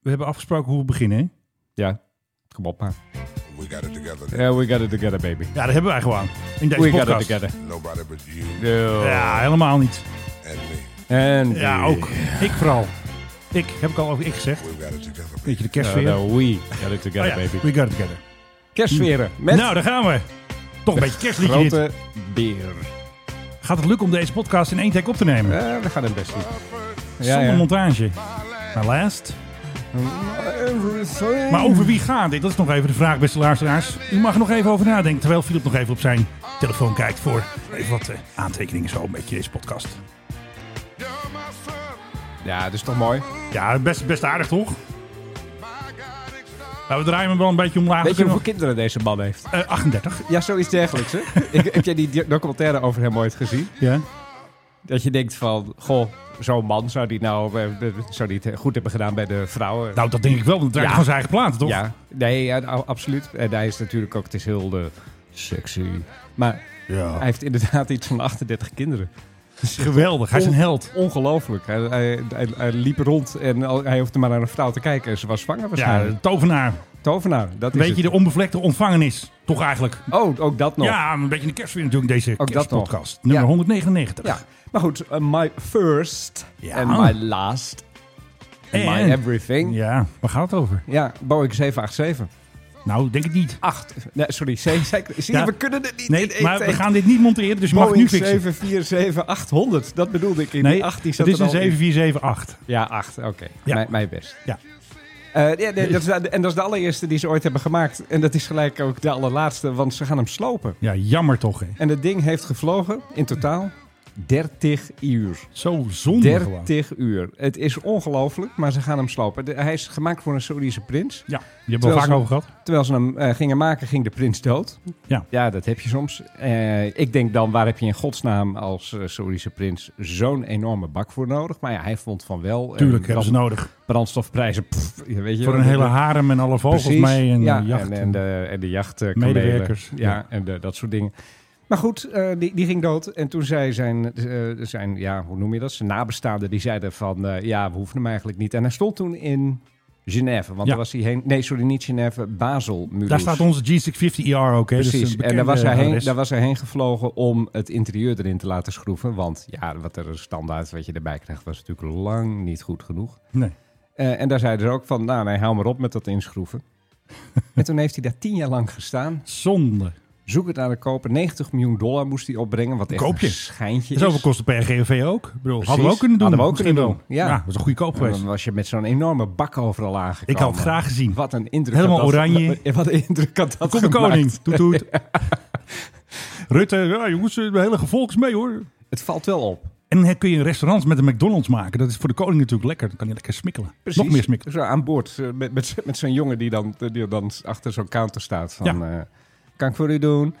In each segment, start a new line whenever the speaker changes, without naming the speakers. We hebben afgesproken hoe we beginnen. hè?
Ja, kom op maar.
We got it together.
Yeah, we got it together, baby.
Ja, dat hebben wij gewoon. In deze
we
podcast.
got it together.
Nobody but you
Ja, helemaal niet.
and me.
En uh,
Ja, ook. Ik vooral. Ik, heb ik al over ik gezegd.
We got it together.
Weet je, de
No,
kerstsfeer.
no, we got
Oh
it together,
ja,
baby.
we got it together.
Kerstsferen met
Nou, daar gaan we. Toch een beetje kerstliedje dit.
grote beer.
Gaat het lukken om deze podcast in één take op te nemen?
Eh, we gaan het best doen.
Zonder montage. Maar last.
Everything.
Maar over wie gaat dit? Dat is nog even de vraag, beste luisteraars. U mag er nog even over nadenken, terwijl Philip nog even op zijn telefoon kijkt voor even wat eh, aantekeningen zo een beetje deze podcast.
Ja, dat is toch mooi.
Ja, best, best aardig toch? Nou, we draaien hem wel een beetje omlaag.
Weet je
Kunnen
hoeveel kinderen deze man heeft?
we- eh, 38.
Ja, zoiets dergelijks. Hè? ik, heb jij die di- documentaire over hem ooit gezien?
Ja.
Dat je denkt van, goh, zo'n man zou die nou eh, zou die het goed hebben gedaan bij de vrouwen.
Nou, dat denk ik wel, want het draait
Ja.
gewoon zijn eigen platen, toch?
ja, nee, ja, nou, absoluut. En hij is natuurlijk ook, het is heel eh, sexy. Maar hij heeft inderdaad iets van 38 kinderen.
Geweldig, hij is een held.
Ongelooflijk. Hij, hij, hij, hij liep rond en al- hij hoefde maar naar een vrouw te kijken. En ze was zwanger
Ja,
waarschijnlijk.
een tovenaar.
Tovenaar, dat is
Een beetje de
het.
onbevlekte ontvangenis, toch eigenlijk?
Oh, ook dat nog.
Ja, een beetje een kerstfeer natuurlijk, deze
Ook dat
kerstpodcast. Nummer
Ja.
199.
Ja. Maar goed, eh, my first
Ja.
and my last and
En-
my everything. Ja.
Ja, waar gaat het over?
Boeing 787.
Nou, denk ik niet.
8. Nee, sorry, zeven- zeker- zie je,
Ja.
we kunnen dit niet in
Nee,
één
maar we
take.
gaan dit niet monteren, dus je mag het nu
Boeing
fixen.
747-800. Dat bedoelde ik in
Nee,
die 8. Die
het
zat
is
er
een
al in.
7478.
Ja, 8. Oké,
Ja.
Mijn- mijn best.
Ja.
Eh, ja, nee, dat is, en dat is de allereerste die ze ooit hebben gemaakt. En dat is gelijk ook de allerlaatste, want ze gaan hem slopen.
ja, jammer toch, hè?
En het ding heeft gevlogen in totaal 30 uur.
Zo zonde gewoon.
30 uur. Het is ongelooflijk, maar ze gaan hem slopen. De- hij is gemaakt voor een Saoedische prins.
Ja, je hebt het
Terwijl
vaak
ze-
over gehad.
Terwijl ze hem eh, gingen maken, ging de prins dood.
Ja.
ja dat heb je soms. Eh, ik denk dan, waar heb je in godsnaam als eh, Saoedische prins zo'n enorme bak voor nodig? Maar ja, hij vond van wel. eh,
Tuurlijk hebben ze nodig.
brandstofprijzen. pff, je weet je,
Voor een hele harem en alle vogels
Precies,
mee en
ja,
eh, jacht.
En, en de, en de jacht, eh,
Medewerkers.
kamelen. Ja, en de- dat soort dingen. Maar goed, eh, die, die ging dood. En toen zei zijn, eh, zijn ja, hoe noem je dat? Zijn nabestaanden, die zeiden van, eh, ja, we hoeven hem eigenlijk niet. En hij stond toen in Genève. Want
Ja.
daar was hij heen... Nee, sorry, niet Genève. Basel, Mulhouse.
Daar staat onze E G650ER ook, hè? dus Dat is
Precies,
een
en daar was,
bekende
hij heen,
adres.
daar was hij heen gevlogen om het interieur erin te laten schroeven. Want ja, wat er standaard wat je erbij krijgt was natuurlijk lang niet goed genoeg.
Nee.
Eh, en daar zeiden ze ook van, nou nee, hou maar op met dat inschroeven. en toen heeft hij daar tien jaar lang gestaan.
Zonde.
Zoek het naar de koper. 90 miljoen dollar moest hij opbrengen, wat echt
Koopje.
een schijntje is.
Zoveel kost de PRGV ook. Ik bedoel, hadden we
Precies.
ook kunnen doen.
Hadden we ook
misschien
kunnen
wel.
doen, ja.
dat was een goedkoop
En
geweest.
dan was je met zo'n enorme bak overal aangekomen.
Ik had het graag gezien.
Wat een indruk
Helemaal
had dat,
oranje.
Wat, een indruk had dat
Kom de
gemaakt.
koning. Toet, toet. Rutte, ja jongens, het hele gevolg is mee hoor.
Het valt wel op.
En dan kun je restaurants met een McDonald's maken. Dat is voor de koning natuurlijk lekker. Dan kan hij lekker smikkelen.
Precies.
Nog meer smikkelen.
Zo aan boord. eh, Met, met, met zo'n jongen die dan, die dan achter zo'n counter staat. Van, eh, kan ik voor u doen?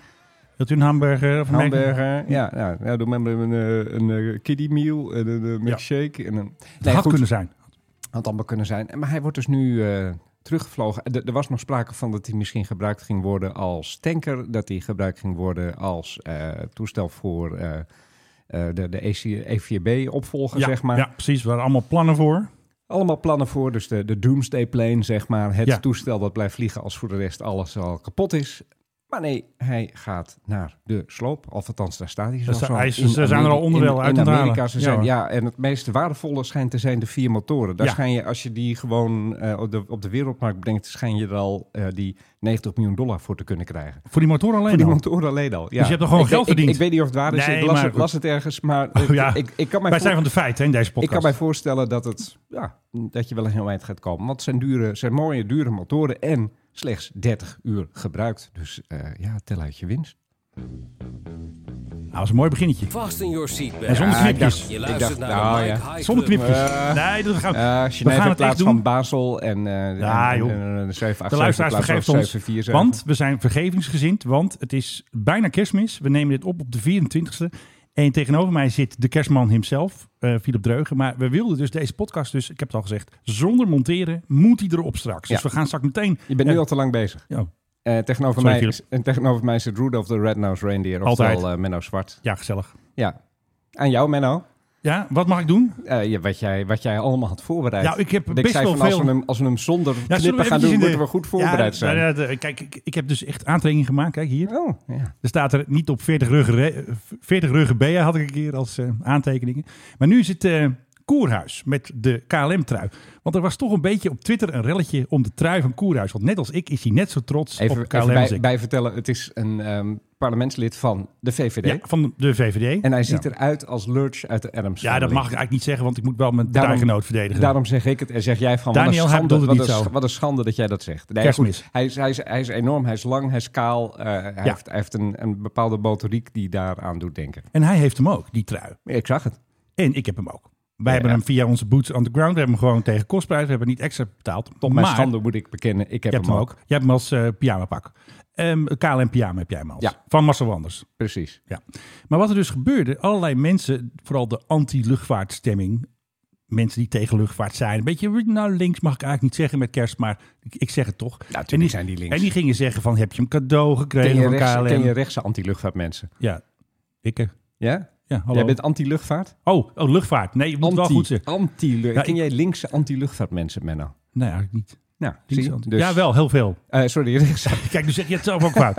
Wilt u een hamburger of een
Hamburger. Ja, ja, ja doe maar een, eh, een, eh, kiddie meal en een eh, milkshake. En een...
Nee,
Nee,
had
goed,
kunnen zijn.
had allemaal kunnen zijn. Maar hij wordt dus nu eh, teruggevlogen. Er er was nog sprake van dat hij misschien gebruikt ging worden als tanker. Dat hij gebruikt ging worden als eh, toestel voor eh, eh, de, de EVB-opvolger,
Ja,
zeg maar.
ja, precies. We hadden allemaal plannen voor.
Allemaal plannen voor. Dus de, de Doomsday Plane, zeg maar. Het
Ja.
toestel dat blijft vliegen als voor de rest alles al kapot is. Maar nee, hij gaat naar de sloop. Althans, daar staat hij zo.
zijn-
zo
hij is-
in
ze zijn er
Ameri-
al onderdelen
in-
uit aan
In
het
Amerika,
halen.
ze
Ja,
zijn,
hoor.
ja, en het meest waardevolle schijnt te zijn de vier motoren. Daar
Ja.
schijn je, als je die gewoon eh, op, de, op de wereldmarkt brengt, schijn je er al eh, die 90 miljoen dollar voor te kunnen krijgen.
Voor die motor alleen
Voor die
al.
motoren alleen al. Ja.
Dus je hebt er gewoon
Ik-
geld
ik-
verdiend?
Ik, ik weet niet of het waar is.
Nee,
ik las,
maar
het,
goed.
las het ergens, maar eh,
Oh, ja.
ik, ik kan mij
Wij
voor-
zijn van de feiten hè, in deze
ik
podcast.
kan mij voorstellen dat, het, ja, dat je wel een heel eind gaat komen. Want het zijn, dure, zijn mooie, dure motoren en slechts 30 uur gebruikt. Dus eh, ja, tel uit je winst.
Nou, dat was een mooi beginnetje.
Vast in your seatbelt.
En zonder knipjes.
Je
ik
luistert
dacht,
naar
nou
de Mike
ja.
High
Zonder
Club.
knipjes.
Eh,
nee, dat gaan we...
Eh
gaan
Genève in
het echt
plaats
doen.
van Basel en, eh
Ja,
en,
joh.
en, en, en 787
De luisteraars
in plaats van
vergeeft ons.
747.
Want we zijn vergevingsgezind, want het is bijna kerstmis. We nemen dit op op de 24e. En tegenover mij zit de kerstman himself, eh Philip Dreugen. Maar we wilden dus deze podcast, dus ik heb het al gezegd, zonder monteren moet hij erop straks. Dus
Ja.
we gaan straks meteen...
Je bent nu
Eh,
al te lang bezig.
ja.
Eh, tegenover,
Sorry,
mij, en tegenover mij zit Rudolf de Red-Nosed Reindeer.
Altijd.
Oftewel eh, Menno Zwart.
Ja, gezellig.
Ja. Aan jou, Menno.
Ja, Ja, wat mag ik doen?
Eh, ja, wat, jij, wat jij allemaal had voorbereid.
Nou, ik heb
Dat
best
zei
wel
van, als
veel-
we hem, als we hem zonder
zullen we
knippen gaan
eventjes
doen,
in de-
moeten we goed voorbereid
Ja,
zijn.
nou, dat, eh, kijk, ik, ik heb dus echt aantrekking gemaakt. Kijk hier.
Oh, ja.
Er staat er niet op 40 ruggen, re- eh, 40 ruggen BA had ik een keer als eh, aantekeningen. Maar nu is het eh, Koerhuis met de KLM-trui. Want er was toch een beetje op Twitter een relletje om de trui van Koerhuis. Want net als ik is hij net zo trots
Even,
op
even
KLM. als
bij,
ik.
bij vertellen, het is een ehm, parlementslid van de VVD.
ja, van de VVD.
En hij ziet eruit als Lurch uit de Adams
ja, dat mag ik
Family.
eigenlijk niet zeggen, want ik moet wel mijn
Daarom-
tuigenoot verdedigen.
Daarom zeg ik het en zeg jij van,
Daniel, hij
wat, een schande,
bedoelt het
wat,
niet
een,
zo.
sch- wat een schande dat jij dat zegt. Nee,
Kerstmis.
goed, hij, is, hij, is, hij is enorm, hij is lang, hij is kaal. eh, hij,
Ja.
heeft, hij heeft een, een bepaalde motoriek die daaraan doet denken.
En hij heeft hem ook, die trui.
Ik zag het.
En ik heb hem ook. Wij
Ja.
hebben hem via onze Boots on the Ground. We hebben hem gewoon tegen kostprijs. We hebben niet extra betaald.
Tot mijn
maar
schande moet ik bekennen, ik heb
je
hem,
hebt hem
ook.
ook. Je hebt hem als eh pyjamapak. Ehm, KLM pyjama heb jij hem als.
Ja.
Van Marcel Wanders.
Precies.
Ja. Maar wat er dus gebeurde, allerlei mensen, vooral de anti-luchtvaartstemming, mensen die tegen luchtvaart zijn, een beetje, nou links mag ik eigenlijk niet zeggen met kerst, maar ik, ik zeg het toch.
Ja,
en, die,
zijn die links.
en die gingen zeggen van, heb je een cadeau
ken,
gekregen
je
van
rechts, ken
KLM?
je rechtse anti-luchtvaartmensen?
Ja, ik. hè.
Ja?
Ja, hallo.
Jij bent anti-luchtvaart?
Oh, oh, luchtvaart. Nee, je moet wel goed
Anti,
zeggen.
anti
Ja,
Ken
ik-
jij linkse anti-luchtvaartmensen, Menno?
Nee, eigenlijk niet.
Nou,
Links
zie je?
anti-
Dus,
Ja, wel, heel veel.
eh, sorry, rechts.
Kijk, nu zeg je het zelf ook fout.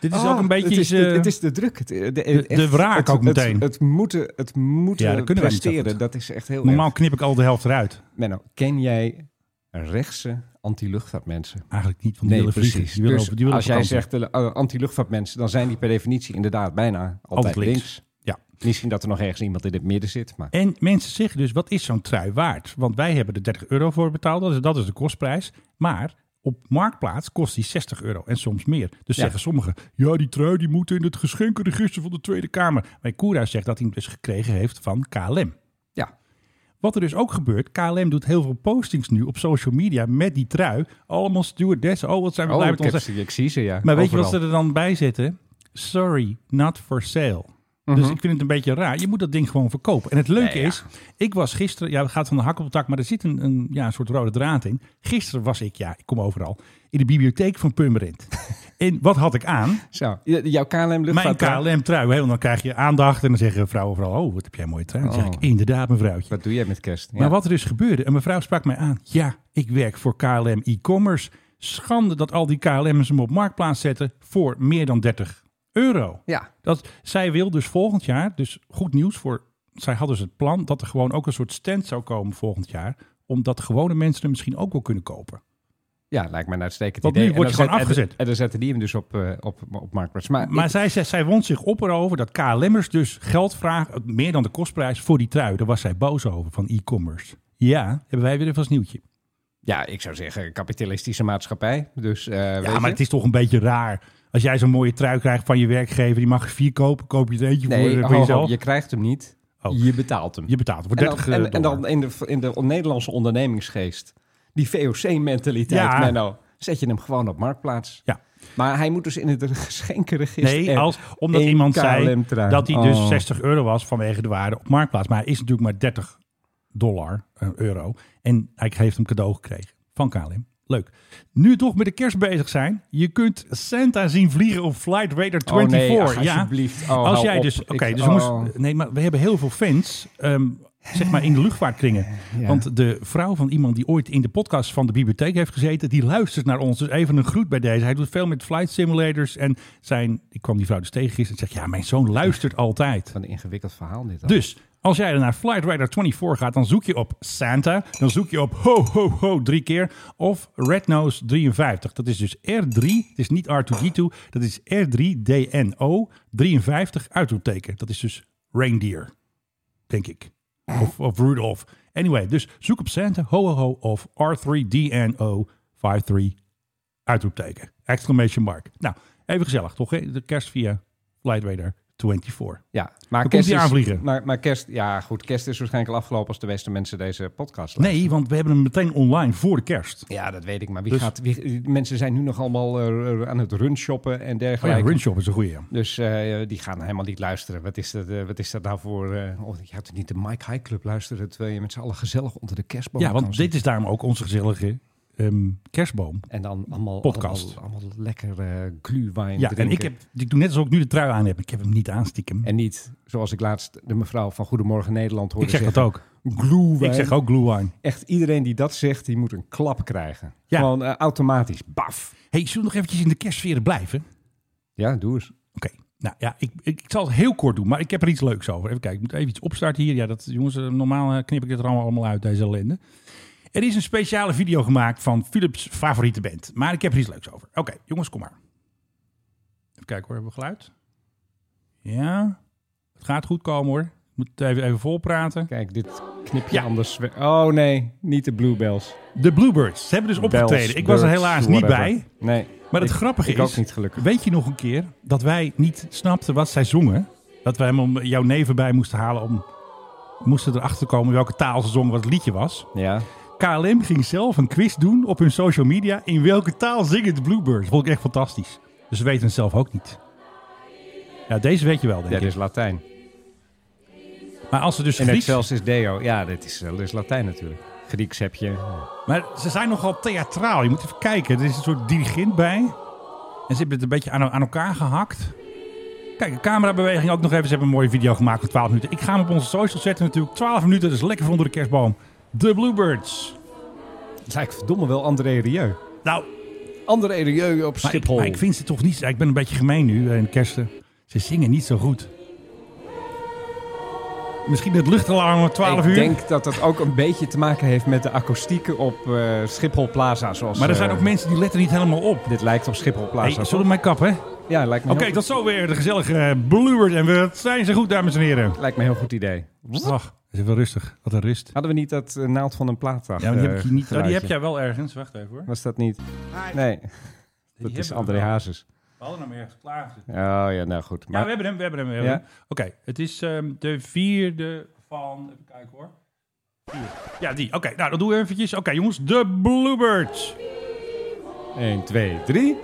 Dit is
Ah,
ook een beetje...
Het is,
iets, eh,
het, het is de druk. Het, de,
de wraak
het-
ook
het-
meteen.
Het, moeten, het moeten
Ja, dat kunnen wij niet zo
presteren,
goed.
dat is echt heel
normaal knip ik al de helft eruit.
erg. Menno, ken jij rechtse anti-luchtvaartmensen?
Eigenlijk niet, want die willen vliegen. Die willen
Dus
op- die willen
als
op
jij
vakantie.
zegt eh, anti-luchtvaartmensen, dan zijn die per definitie inderdaad bijna altijd,
Altijd links.
links.
Ja.
Misschien dat er nog ergens iemand in het midden zit, maar...
En mensen zeggen dus, wat is zo'n trui waard? Want wij hebben er 30 euro voor betaald, dat is, dat is de kostprijs. Maar op Marktplaats kost die 60 euro en soms meer. Dus
Ja.
zeggen sommigen, ja die trui die moet in het geschenkenregister van de Tweede Kamer. Maar Koerhuis zegt dat hij hem dus gekregen heeft van KLM.
Ja.
Wat er dus ook gebeurt, KLM doet heel veel postings nu op social media met die trui. Allemaal stewardessen, oh wat zijn we
Oh,
blij
ik,
met
heb
onze...
ze- ik zie ze, ja.
Maar weet je wat ze
overal.
er dan bij zetten? Sorry, not for sale. Dus ik vind het een beetje raar. Je moet dat ding gewoon verkopen. En het leuke
Mhm. Nee, ja.
is, ik was gisteren... Ja, het gaat van de hak op de tak, maar er zit een, een, ja, een soort rode draad in. Gisteren was ik, ja, ik kom overal, in de bibliotheek van Purmerend. en wat had ik aan?
Zo, j- jouw
Mijn
KLM-luchtvaart...
KLM-trui. hè, want Dan krijg je aandacht en dan zeggen vrouwen vooral... Oh, wat heb jij een mooie trui. Dan zeg
Oh.
ik, inderdaad mevrouwtje.
Wat doe jij met kerst? Ja.
Maar wat er dus gebeurde, een mevrouw sprak mij aan. Ja, ik werk voor KLM e-commerce. Schande dat al die KLM'ers hem op marktplaats zetten voor meer dan 30 euro.
Ja,
Dat, zij wil dus volgend jaar, dus goed nieuws voor... Zij had dus het plan dat er gewoon ook een soort stand zou komen volgend jaar. Omdat gewone mensen hem misschien ook wel kunnen kopen.
ja, lijkt me een uitstekend
Want nu
idee.
wordt
dan
je gewoon
zet- en-
afgezet.
En dan zetten die hem dus op, eh, op, op Marktplaats. Maar,
Maar zij, zij, zij wond zich op erover dat KLM'ers dus geld vragen... meer dan de kostprijs voor die trui. Daar was zij boos over van e-commerce. Ja, hebben wij weer een vast nieuwtje.
Ja, ik zou zeggen, kapitalistische maatschappij. Dus, eh, weet
Ja,
je?
maar het is toch een beetje raar. Als jij zo'n mooie trui krijgt van je werkgever, die mag je vier kopen, koop je er eentje
Nee,
voor,
ho,
voor
ho,
jezelf.
je krijgt hem niet.
Oh.
Je betaalt hem.
Je betaalt voor
en
30
dan, en, en
dollar.
dan in de, in de Nederlandse ondernemingsgeest. Die VOC-mentaliteit,
Ja.
Menno. Zet je hem gewoon op Marktplaats.
Ja.
Maar hij moet dus in het geschenkenregister. Eh,
Nee,
er
als, omdat
één
iemand zei
KLM-trui.
dat hij dus
Oh.
60 euro was vanwege de waarde op Marktplaats. Maar hij is natuurlijk maar 30 dollar, eh, euro. En hij heeft hem cadeau gekregen van KLM. Leuk. Nu we toch met de kerst bezig zijn. Je kunt Santa zien vliegen op Flight Radar 24.
Oh nee, ach,
ja.
alsjeblieft. Oh,
Als
hou
jij
op.
dus. Oké,
Ik-
dus we moesten-
oh.
Nee, maar we hebben heel veel fans. ehm, zeg maar in de luchtvaartkringen.
Ja.
Want de vrouw van iemand die ooit in de podcast van de bibliotheek heeft gezeten. die luistert naar ons. Dus even een groet bij deze. Hij doet veel met flight simulators. En zijn. Ik kwam die vrouw dus tegen gisteren. en zegt: Ja, mijn zoon luistert altijd.
Wat een ingewikkeld verhaal dit. al.
Dus. Als jij naar Flight Radar 24 gaat, dan zoek je op Santa. Dan zoek je op ho, ho, ho drie keer. Of Red Nose 53. Dat is dus R3. Het is niet R2D2. Dat is R3DNO 53 uitroepteken. Dat is dus reindeer. Denk ik. Of, of Rudolph. Anyway, dus zoek op Santa, ho, ho, ho. Of R3DNO 53 uitroepteken. Exclamation mark. Nou, even gezellig toch? hè? De kerst via Flight Radar 24.
Ja, maar
Dan
kerst,
komt hij
is-
aanvliegen.
Maar, maar kerst, ja goed, kerst is waarschijnlijk al afgelopen als de meeste mensen deze podcast luisteren.
Nee, want we hebben hem meteen online voor de kerst.
Ja, dat weet ik. Maar wie
Dus-
gaat, wie, mensen zijn nu nog allemaal eh, aan het runshoppen en
Oh ja,
dergelijke.
Runshop is een goede. Ja.
dus eh, die gaan helemaal niet luisteren. Wat is dat, eh, wat is dat nou voor... eh, oh, je gaat toch niet de Mike High Club luisteren terwijl je met z'n allen gezellig onder de kerstboom
ja,
kan
want dit
zitten?
is daarom ook onze gezellige ehm, kerstboom.
En dan allemaal,
Podcast.
allemaal, allemaal lekker eh glühwein
Ja,
drinken.
en ik, heb, ik doe net alsof ik nu de trui aan heb. Ik heb hem niet aan, stiekem.
En niet, zoals ik laatst de mevrouw van Goedemorgen Nederland hoorde
ik zeg dat
zeggen,
ook.
glühwein.
Ik zeg ook glue wine.
Echt iedereen die dat zegt, die moet een klap krijgen.
Ja.
Gewoon eh, automatisch. Baf.
hey, zullen we nog eventjes in de kerstsfeer blijven?
Ja, doe eens.
Oké. Nou ja, ik, ik, ik zal het heel kort doen, maar ik heb er iets leuks over. Even kijken, ik moet even iets opstarten hier. Ja, dat, jongens, eh, normaal eh, knip ik dit er allemaal, allemaal uit, deze ellende. Er is een speciale video gemaakt van Philips favoriete band. Maar ik heb er iets leuks over. Oké, jongens, kom maar. Even kijken hoor, hebben we geluid? Ja, het gaat goed komen hoor. Ik moet even, even volpraten.
Kijk, dit knip je
Ja.
anders. we- Oh nee, niet de Bluebells.
De Bluebirds, ze hebben dus opgetreden. Ik was er
Bells,
helaas
birds,
niet
whatever.
bij.
Nee.
Maar het
Ik-
grappige
ik
is...
ook niet gelukkig.
Weet je nog een keer dat wij niet snapten wat zij zongen? Dat wij hem om jouw neven bij moesten halen om... Moesten erachter komen welke taal ze zongen, wat het liedje was.
Ja.
KLM ging zelf een quiz doen op hun social media. In welke taal zingen de Bluebirds? Vond ik echt fantastisch. Dus ze weten het zelf ook niet. Ja, deze weet je wel, denk
ja,
ik.
dit is Latijn.
Maar als ze dus
En het
Grieks...
zelfs is Deo. Ja, dit is, eh, dit is Latijn natuurlijk. Grieks heb je.
Maar ze zijn nogal theatraal. Je moet even kijken. Er is een soort dirigent bij. En ze hebben het een beetje aan, aan elkaar gehakt. Kijk, de camerabeweging ook nog even. Ze hebben een mooie video gemaakt van 12 minuten. Ik ga hem op onze social zetten natuurlijk. 12 minuten, dat is lekker voor onder de kerstboom. De Bluebirds.
Het lijkt verdomme wel André Rieu.
Nou,
André Rieu op
maar ik,
Schiphol.
maar ik vind ze toch niet... Ik ben een beetje gemeen nu eh, in de kersten. Ze zingen niet zo goed. Misschien het luchtalarm om 12
Ik
uur.
denk dat dat ook een beetje te maken heeft met de akoestieken op eh, Schiphol Plaza. Zoals,
maar er zijn
eh,
ook mensen die letten niet helemaal op.
Dit lijkt op Schiphol Plaza.
Hey, zullen we mij kappen? hè?
Ja, lijkt me,
Oké,
heel,
tot zover de gezellige eh, Bluebird. En we zijn ze goed, dames en heren.
lijkt me een heel goed idee.
Ach, is even rustig. Wat een rust.
Hadden we niet dat eh, naald van een plaat eh,
Ja, maar die, heb ik hier niet, oh, die heb jij wel ergens. Wacht even hoor.
Was dat niet? Nee, dat is André
Haas.
Hazes.
We hadden hem ergens klaar.
Oh ja, nou goed.
Ja,
Maar
we hebben hem, we hebben hem. we hebben
Ja.
hem. Oké, het is ehm, de vierde van... Even kijken hoor. Vier. Ja, die. Oké, nou dat doen we eventjes. Oké jongens, de Bluebirds.
1, 2, 3.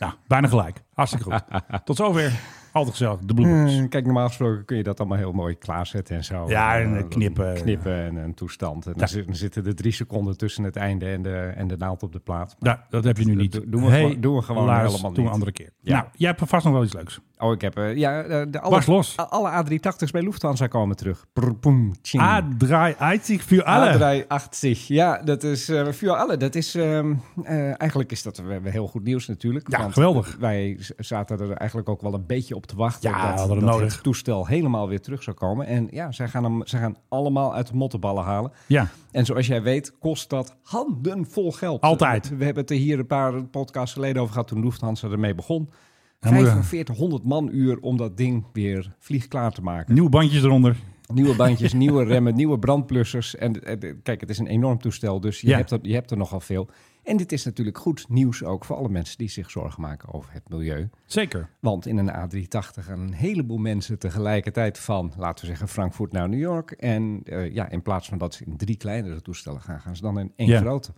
Nou, bijna gelijk. Hartstikke goed. Tot zover. Altijd gezellig, de Bluebirds.
Kijk, normaal gesproken kun je dat allemaal heel mooi klaarzetten en zo.
Mm. Ja, en,
eh,
eh, knippen.
Knippen en een toestand. En dan, zit- dan zitten er drie seconden tussen het einde en de, en de naald op de plaat.
Nou, dat heb je nu
Dat
niet.
do- doen we gewoon- doen we gewoon
helaas,
helemaal
doen we
niet.
andere keer.
Ja.
Nou, jij hebt vast nog wel iets leuks.
Oh, ik heb... eh, ja, eh, de alle,
Pas los.
alle A380's bij Lufthansa komen terug. Prr, poem, tjing.
A380 voor alle.
A380. Ja, dat is eh voor alle. Dat is ehm, eh, eigenlijk is dat we, we heel goed nieuws natuurlijk.
Ja,
want
geweldig.
Wij z- zaten er eigenlijk ook wel een beetje op te wachten
Ja,
dat,
hadden we
dat
nodig.
het toestel helemaal weer terug zou komen. En ja, zij gaan hem, zij gaan allemaal uit de mottenballen halen.
Ja.
En zoals jij weet, kost dat handenvol geld.
Altijd.
We hebben het er hier een paar podcasts geleden over gehad toen Lufthansa ermee begon.
Dan moeten we-
4500 manuur om dat ding weer vliegklaar te maken.
Nieuwe bandjes eronder.
Nieuwe bandjes, nieuwe remmen, nieuwe brandplussers. En eh, de- kijk, het is een enorm toestel, dus je,
Ja.
hebt er, je hebt er nogal veel. En dit is natuurlijk goed nieuws ook voor alle mensen die zich zorgen maken over het milieu.
Zeker.
Want in een A380 gaan een heleboel mensen tegelijkertijd van, laten we zeggen, Frankfurt naar New York. En eh, ja, in plaats van dat ze in drie kleinere toestellen gaan, gaan ze dan in één
Ja.
grote.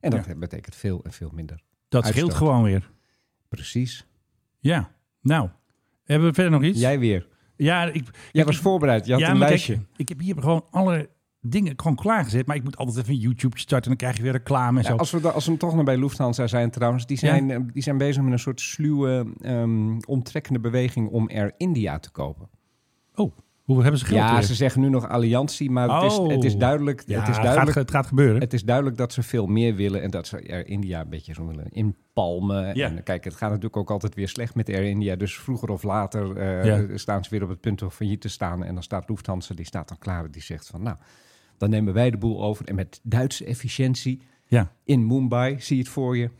En dat
Ja.
betekent veel en veel minder.
Dat
Uitstoot.
scheelt gewoon weer.
Precies.
Ja. Nou, hebben we verder nog iets?
Jij weer.
ja, ik,
Jij was voorbereid, je had
ja,
een
maar kijk,
lijstje.
ik heb hier gewoon alle dingen gewoon klaargezet. Maar ik moet altijd even YouTube starten en dan krijg je weer reclame en
Ja,
zo.
als, we da- als we toch nog bij Lufthansa zijn trouwens, die zijn, eh, die zijn bezig met een soort sluwe, ehm, omtrekkende beweging om Air India te kopen.
Oh, hoeveel hebben ze geld?
Ja,
weer?
ze zeggen nu nog alliantie, maar het,
Oh.
is, het, is duidelijk,
Ja,
het, is
gaat,
duidelijk,
ge- het gaat gebeuren.
het is duidelijk dat ze veel meer willen en dat ze Air India een beetje zo willen inpalmen.
Ja.
En eh, kijk, het gaat natuurlijk ook altijd weer slecht met Air India, dus vroeger of later eh,
Ja.
staan ze weer op het punt om failliet te staan. En dan staat Lufthansa, die staat dan klaar, die zegt van nou, dan nemen wij de boel over. En met Duitse efficiëntie
Ja.
in Mumbai, zie je het voor je.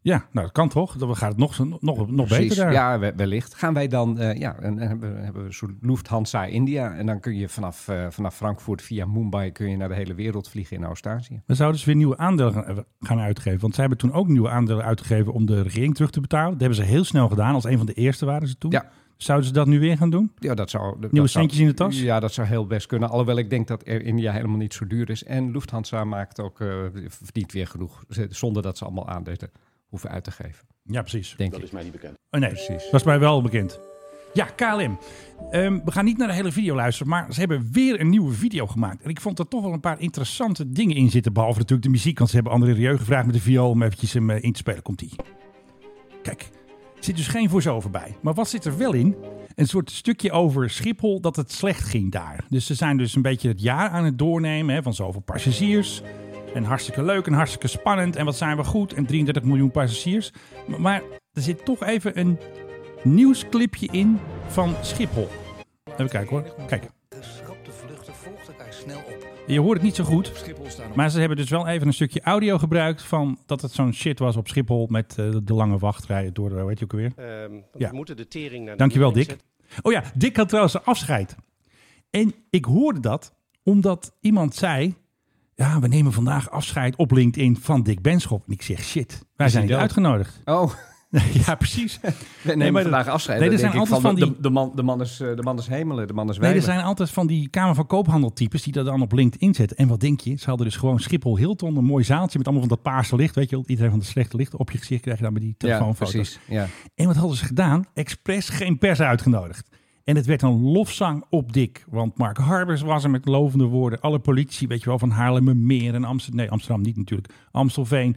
ja, nou dat kan toch? Dan gaat het nog, nog, nog
Precies,
beter daar.
Ja, we- wellicht. Gaan wij dan, eh, ja, en, en hebben, we- hebben we een soort Lufthansa India. En dan kun je vanaf, eh, vanaf Frankfurt via Mumbai kun je naar de hele wereld vliegen in Oost-Azië.
Dan zouden ze weer nieuwe aandelen gaan- gaan uitgeven. Want zij hebben toen ook nieuwe aandelen uitgegeven om de regering terug te betalen. Dat hebben ze heel snel gedaan. Als een van de eerste waren ze toen.
Ja.
Zouden ze dat nu weer gaan doen?
Ja, dat zou, dat
Nieuwe
zou-
centjes in de tas?
Ja, dat zou heel best kunnen. Alhoewel ik denk dat Air India helemaal niet zo duur is. En Lufthansa maakt ook, eh, verdient weer genoeg. z- Zonder dat ze allemaal aandelen hoeven uit te geven,
Ja, precies.
denk ik.
Oh, nee,
Precies.
was mij wel bekend. Ja, KLM. Ehm, we gaan niet naar de hele video luisteren, maar ze hebben weer een nieuwe video gemaakt. En ik vond er toch wel een paar interessante dingen in zitten. Behalve natuurlijk de muziek, want ze hebben André Rieu gevraagd met de viool om eventjes hem eh, in te spelen. Komt-ie. Kijk, er zit dus geen voice-over bij. Maar wat zit er wel in? Een soort stukje over Schiphol dat het slecht ging daar. Dus ze zijn dus een beetje het jaar aan het doornemen hè, van zoveel passagiers. En hartstikke leuk en hartstikke spannend. En wat zijn we goed? En 33 miljoen passagiers. Maar, maar er zit toch even een nieuwsclipje in van Schiphol. Even kijken hoor. Kijk,
De schrapte vluchten volgt elkaar snel op.
je hoort het niet zo goed.
Op Schiphol staan op
Maar ze hebben dus wel even een stukje audio gebruikt van dat het zo'n shit was op Schiphol met eh, de lange wachtrijen door de, weet je ook weer.
Ehm, want
Ja.
We moeten de tering naar de
Dankjewel,
middenlijn
Dick. Oh ja, Dick had trouwens een afscheid. En ik hoorde dat omdat iemand zei... Ja, we nemen vandaag afscheid op LinkedIn van Dick Benschop. En ik zeg, shit, wij zijn
Is hij
niet
dood?
uitgenodigd.
Oh,
ja, precies.
we nemen
Nee, maar dat-
vandaag afscheid.
nee, er
Dan
zijn
denk ik
altijd van
de, de, man, de, man is, eh, de man is hemelen, de man is
Nee, er
wijlen.
zijn altijd van die Kamer van Koophandeltypes die dat dan op LinkedIn zetten. En wat denk je? Ze hadden dus gewoon Schiphol Hilton, een mooi zaaltje met allemaal van dat paarse licht. Weet je wel, iedereen van de slechte licht op je gezicht krijg je dan met die
ja,
telefoonfoto's.
precies. Ja.
En wat hadden ze gedaan? Expres geen pers uitgenodigd. En het werd een lofzang op Dick. Want Mark Harbers was er met lovende woorden. Alle politie, weet je wel, van Haarlemmermeer en Amsterdam. Nee, Amsterdam niet natuurlijk. Amstelveen.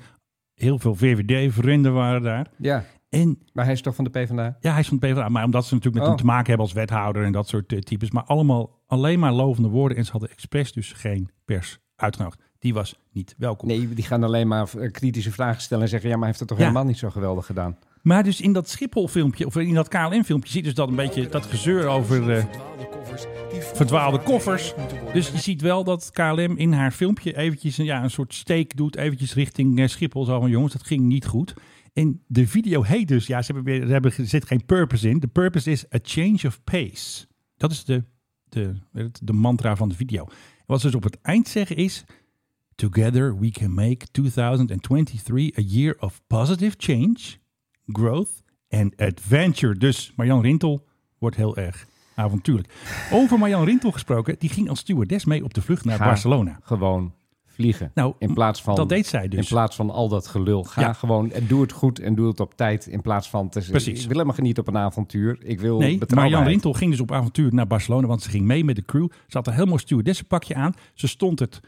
Heel veel VVD-vrienden waren daar.
ja,
En
maar hij is toch van de PvdA?
ja, hij is van het PvdA. Maar omdat ze natuurlijk met
Oh.
hem te maken hebben als wethouder en dat soort eh, types. Maar allemaal alleen maar lovende woorden. En ze hadden expres dus geen pers uitgenodigd. Die was niet welkom.
Nee, die gaan alleen maar eh, kritische vragen stellen en zeggen... ja, maar hij heeft het toch
Ja.
helemaal niet zo geweldig gedaan?
Maar dus in dat Schiphol-filmpje, of in dat KLM-filmpje, ziet dus dat een beetje dat gezeur over... eh,
verdwaalde koffers. die vroeger
verdwaalde
vaak
koffers.
geregeld moeten worden.
Dus je ziet wel dat KLM in haar filmpje eventjes een, ja, een soort steek doet, eventjes richting eh, Schiphol. Zo van, jongens, dat ging niet goed. En de video heet dus, ja, ze hebben, weer, ze hebben, er zit geen purpose in. De purpose is a change of pace. Dat is de, de, het- de mantra van de video. En wat ze dus op het eind zeggen is... Together we can make 2023 a year of positive change, growth and adventure. Dus Marjan Rintel wordt heel erg avontuurlijk. Over Marjan Rintel gesproken, die ging als stewardess mee op de vlucht naar
Ga
Barcelona.
Gewoon vliegen.
Nou,
in plaats van,
dat deed zij dus.
In plaats van al dat gelul. Ga
Ja.
gewoon en doe het goed en doe het op tijd. In plaats van, te,
Precies.
ik wil helemaal niet op een avontuur. Ik wil
Nee, maar Jan
betrouwbaarheid.
Rintel ging dus op avontuur naar Barcelona, want ze ging mee met de crew. Ze had een heel mooi stewardessenpakje aan. Ze stond het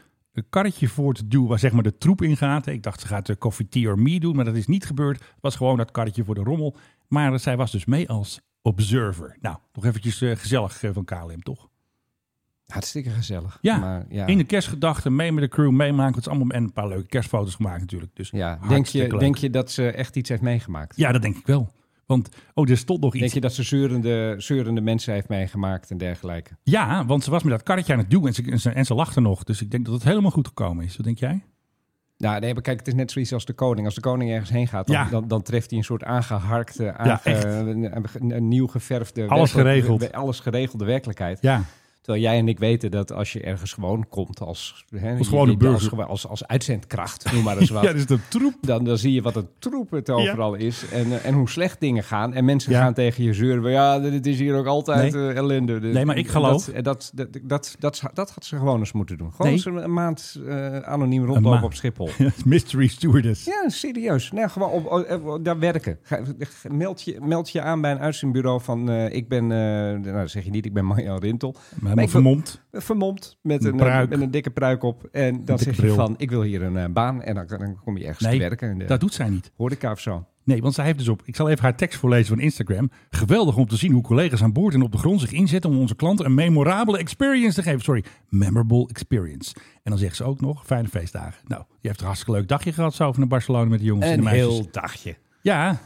karretje voor te duwen waar zeg maar de troep in gaat. Ik dacht, ze gaat de coffee tea or me doen, maar dat is niet gebeurd. Het was gewoon dat karretje voor de rommel. Maar eh, zij was dus mee als observer. Nou, nog eventjes eh, gezellig eh, van KLM, toch?
Hartstikke gezellig.
Ja,
maar, ja.
In de kerstgedachten, mee met de crew, meemaken. Het is allemaal, en een paar leuke kerstfoto's gemaakt natuurlijk. Dus
Ja, denk
hartstikke
je,
leuk.
denk je dat ze echt iets heeft meegemaakt?
Ja, dat denk ik wel. Want, oh, er stond nog iets.
Denk je dat ze zeurende, zeurende mensen heeft meegemaakt en dergelijke?
Ja, want ze was met dat karretje aan het duwen en ze, en ze, en ze lachte nog. Dus ik denk dat het helemaal goed gekomen is. Wat denk jij?
Nou, nee, maar kijk, het is net zoiets als de koning. Als de koning ergens heen gaat, dan,
Ja.
dan, dan treft hij een soort aangeharkte,
echt.
aange, een, een- een nieuw geverfde...
Alles
werkelijk-
geregeld.
we- Alles geregelde werkelijkheid.
Ja,
Terwijl jij en ik weten dat als je ergens gewoon komt als... Hè,
Als gewone
je- je-
burger.
Als, gewo- als, als uitzendkracht, noem maar eens wat.
ja, dus de troep.
dan, dan zie je wat een troep het overal is en, eh, en hoe slecht dingen gaan. En mensen
Ja.
gaan tegen je zeuren. van, Ja, dit is hier ook altijd eh, ellende. De-
Nee, maar ik geloof-
Dat, eh, dat, dat, dat, dat, zou- dat had ze gewoon eens moeten doen. Gewoon
Nee.
eens een maand eh, anoniem rondlopen
maand.
op Schiphol.
Mystery stewardess.
Ja, serieus. Nee, gewoon op, op- op- daar werken. Ga- g- meld, je, meld je aan bij een uitzendbureau van... eh, ik ben, eh, nou dat zeg je niet, ik ben Marjan Rintel.
Helemaal
Maar ik-
vermomd.
Vermomd, met
Een
een, eh,
pruik.
met een dikke pruik op. En dan
dikke
zeg
bril.
je van, ik wil hier een eh, baan. En dan, dan kom je ergens
Nee,
te werken. In de
Dat doet zij niet.
horeca of zo.
Nee, want zij heeft dus op... Ik zal even haar tekst voorlezen van Instagram. Geweldig om te zien hoe collega's aan boord en op de grond zich inzetten... om onze klanten een memorabele experience te geven. Sorry, memorable experience. En dan zegt ze ook nog, fijne feestdagen. Nou, je hebt een hartstikke leuk dagje gehad zo van naar Barcelona met de jongens en de meisjes.
dagje.
Ja,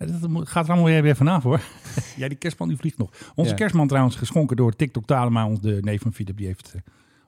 Ja, dat mo- gaat er allemaal weer- weer vanaf hoor. ja, die kerstman die vliegt nog. Onze
Ja.
kerstman trouwens, geschonken door TikTok Talema, ons- de neef van Philip, die heeft eh,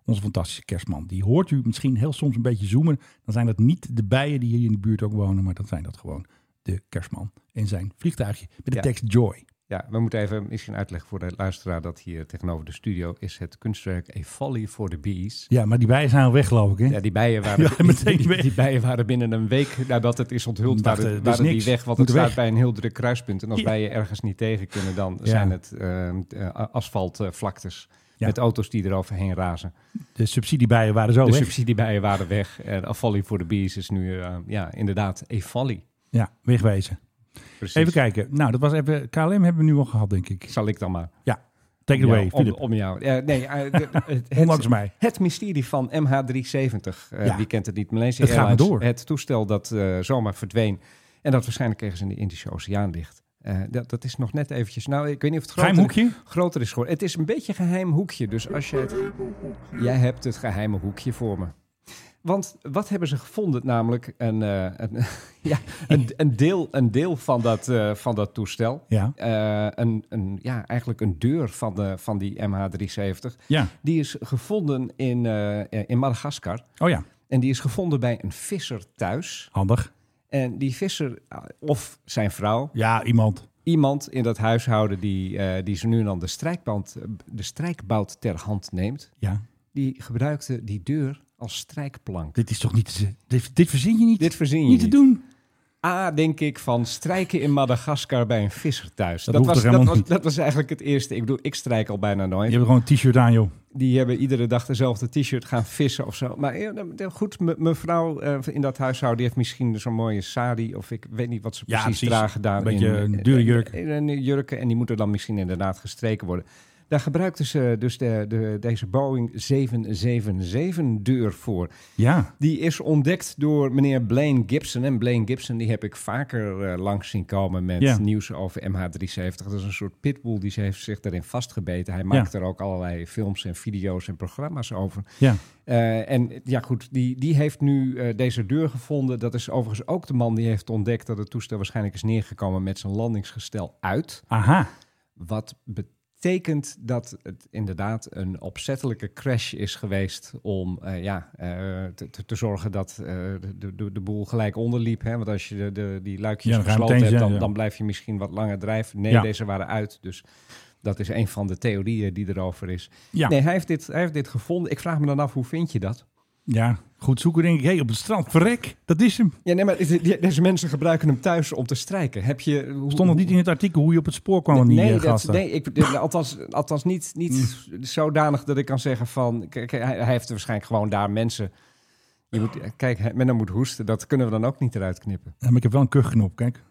onze fantastische kerstman. Die hoort u misschien heel soms een beetje zoomen. Dan zijn dat niet de bijen die hier in de buurt ook wonen, maar dat zijn dat gewoon de kerstman in zijn vliegtuigje met de
Ja.
tekst Joy.
Ja, we moeten even misschien uitleggen voor de luisteraar dat hier tegenover de studio is het kunstwerk A Folly for the Bees.
Ja, maar die bijen zijn al weg geloof ik hè?
Ja, die bijen waren,
Ja, meteen
die,
weg.
die bijen waren binnen een week nadat het is onthuld,
Dachten,
waren, waren
dus
die
niks.
weg. Want
Moet
het staat
weg.
bij een heel druk kruispunt. En als
Ja.
bijen ergens niet tegen kunnen, dan
Ja.
zijn het asfalt asfaltvlaktes
Ja.
met auto's die eroverheen razen.
De subsidiebijen waren zo
de
Oh, weg.
subsidiebijen eh, waren weg. En A Folly for the Bees is nu eh, ja, inderdaad A Folly.
Ja, wegwezen.
Precies.
Even kijken. Nou, dat was even... KLM hebben we nu al gehad, denk ik.
Zal ik dan maar.
Take it
Om
away,
jou- om,
Philip.
om jou. Eh, nee, eh, de- het,
Ondanks
het,
mij.
het mysterie van MH370. eh
Ja.
Wie kent het niet? Malaysia
Het gaat maar
Airlines.
door.
Het toestel dat eh, zomaar verdween. En dat waarschijnlijk ergens in de Indische Oceaan ligt. Eh, dat, dat is nog net eventjes... Nou, ik weet niet of het
Geheim
groter,
hoekje.
groter is geworden. Het is een beetje een geheim hoekje. Dus als je het... Jij hebt het geheime hoekje voor me. Want wat hebben ze gevonden? Namelijk een, eh, een, ja, een, een, deel, een deel van dat, eh, van dat toestel.
Ja.
Eh, een, een, ja, eigenlijk een deur van, de, van die MH370.
Ja.
Die is gevonden in, eh, in Madagaskar.
Oh ja,
En die is gevonden bij een visser thuis.
handig.
En die visser, ah, of zijn vrouw,
Ja, iemand.
iemand in dat huishouden die, eh, die ze nu en dan de, strijkband, de strijkbout ter hand neemt,
Ja.
die gebruikte die deur als strijkplank.
Dit is toch niet... te- Dit, dit verzin je niet.
Dit verzin je
niet te doen.
A, denk ik, van strijken in Madagaskar bij een visser thuis.
Dat hoeft
was,
toch
dat,
helemaal
was,
niet?
dat was eigenlijk het eerste. Ik bedoel, ik strijk al bijna nooit.
Je hebt gewoon een t-shirt aan, joh.
die hebben iedere dag dezelfde t-shirt gaan vissen of zo. Maar ja, nou, goed, me- mevrouw eh, in dat huishouden die heeft misschien zo'n mooie sari... of ik weet niet wat ze
Ja,
precies,
precies.
dragen daar.
Een beetje
in, eh,
een dure jurk.
In, in- in jurken en die moeten dan misschien inderdaad gestreken worden. Daar gebruikten ze dus de, de, deze Boeing 777-deur voor.
Ja.
Die is ontdekt door meneer Blaine Gibson. En Blaine Gibson die heb ik vaker eh, langs zien komen met
Ja.
nieuws over MH370. Dat is een soort pitbull die ze heeft zich daarin vastgebeten. Hij maakt er ook allerlei films en video's en programma's over.
Ja.
Eh, en ja goed, die, die heeft nu eh, deze deur gevonden. Dat is overigens ook de man die heeft ontdekt dat het toestel waarschijnlijk is neergekomen met zijn landingsgestel uit.
Aha.
Wat betekent dat het inderdaad een opzettelijke crash is geweest om eh, ja, eh, te, te- te zorgen dat eh, de, de, de boel gelijk onderliep. Hè? Want als je de, de, die
Ja,
luikjes
dan ga je
gesloten
meteen,
hebt, dan,
ja, ja.
dan blijf je misschien wat langer drijven. Nee,
Ja.
deze waren uit. Dus dat is een van de theorieën die erover is.
Ja.
Nee, hij heeft, dit, hij heeft dit gevonden. Ik vraag me dan af, hoe vind je dat?
Ja. Goed zoeken, denk ik. Hé, op het strand. Verrek. Dat is hem.
Ja, nee, maar dit- dit- deze mensen gebruiken hem thuis om te strijken. Heb je... hoe-
Stond nog niet in het artikel hoe je op het spoor kwam aan die
nee,
eh,
dat,
gasten. Mm.
nee ik, eh, althans, althans niet, niet zodanig dat ik kan zeggen van... Kijk, hij, hij heeft waarschijnlijk gewoon daar mensen... Je moet, kijk, hij- men dan moet hoesten. Dat kunnen we dan ook niet eruit knippen.
Ja, maar ik heb wel een kuchknop, kijk.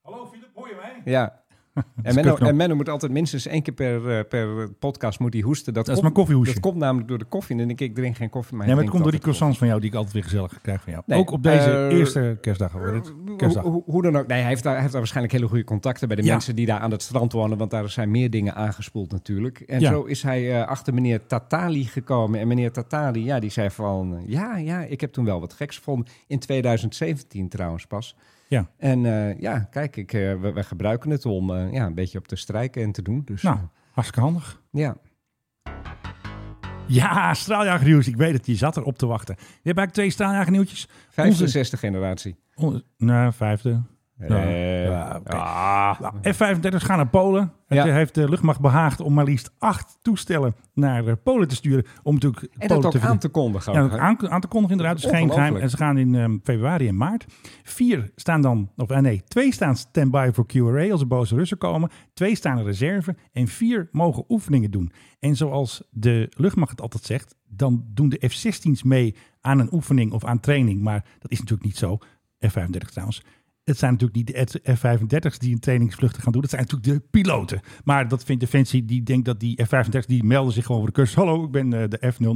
Hallo Filip, hoor je mij?
Ja. En Menno,
kutknop.
en Menno moet altijd minstens één keer per, eh, per podcast moet hij hoesten. Dat,
Dat is
komt-
mijn koffiehoesje.
Dat komt namelijk door de koffie. En dan denk ik, ik drink geen koffie, maar
Nee,
hij
maar het komt door die
drinkt
croissants
altijd
van jou die ik altijd weer gezellig krijg van jou.
Nee,
Ook op deze
eh,
eerste kerstdag. hoor. Dit-
koffie.
Kerstdag.
Hoe, hoe- hoe dan ook. Nee, hij heeft, daar, hij heeft daar waarschijnlijk hele goede contacten bij de
Ja.
mensen die daar aan het strand wonen. Want daar zijn meer dingen aangespoeld natuurlijk. En
Ja.
zo is hij eh, achter meneer Tatali gekomen. En meneer Tatali, ja, die zei van... Ja, ja, ik heb toen wel wat geks gevonden. In 2017 trouwens pas.
Ja.
En eh, ja, kijk, ik, eh, we, we gebruiken het om eh, ja, een beetje op te strijken en te doen. Dus
Nou,
eh,
hartstikke handig.
ja.
Ja, straaljagernieuws. Ik weet het, die zat erop te wachten. We hebben eigenlijk twee straaljagernieuwtjes.
65 generatie.
Onze, nou, vijfde. Ja.
Eh,
Ja, oké.
ah.
Nou, F-35 gaan naar Polen. Het
Ja.
heeft de luchtmacht behaagd om maar liefst acht toestellen naar eh, Polen te sturen. Om natuurlijk
En
Polen
dat ook
te
aan
verdienen.
te kondigen.
Ja,
ook,
dat
hè?
aan, aan te kondigen inderdaad. Dus geen geheim.
Ongelooflijk.
En ze gaan in ehm, februari en maart. Vier staan dan, of eh, nee, twee staan standby voor QRA als er boze Russen komen. Twee staan in reserve. En vier mogen oefeningen doen. En zoals de luchtmacht het altijd zegt, dan doen de F-16's mee aan een oefening of aan training. Maar dat is natuurlijk niet zo. F-35 trouwens. Het zijn natuurlijk niet de F-35's die een trainingsvluchten gaan doen. Dat zijn natuurlijk de piloten. Maar dat vindt Defensie, die denkt dat die F-35's... die melden zich gewoon voor de cursus. Hallo, ik ben eh, de F-004.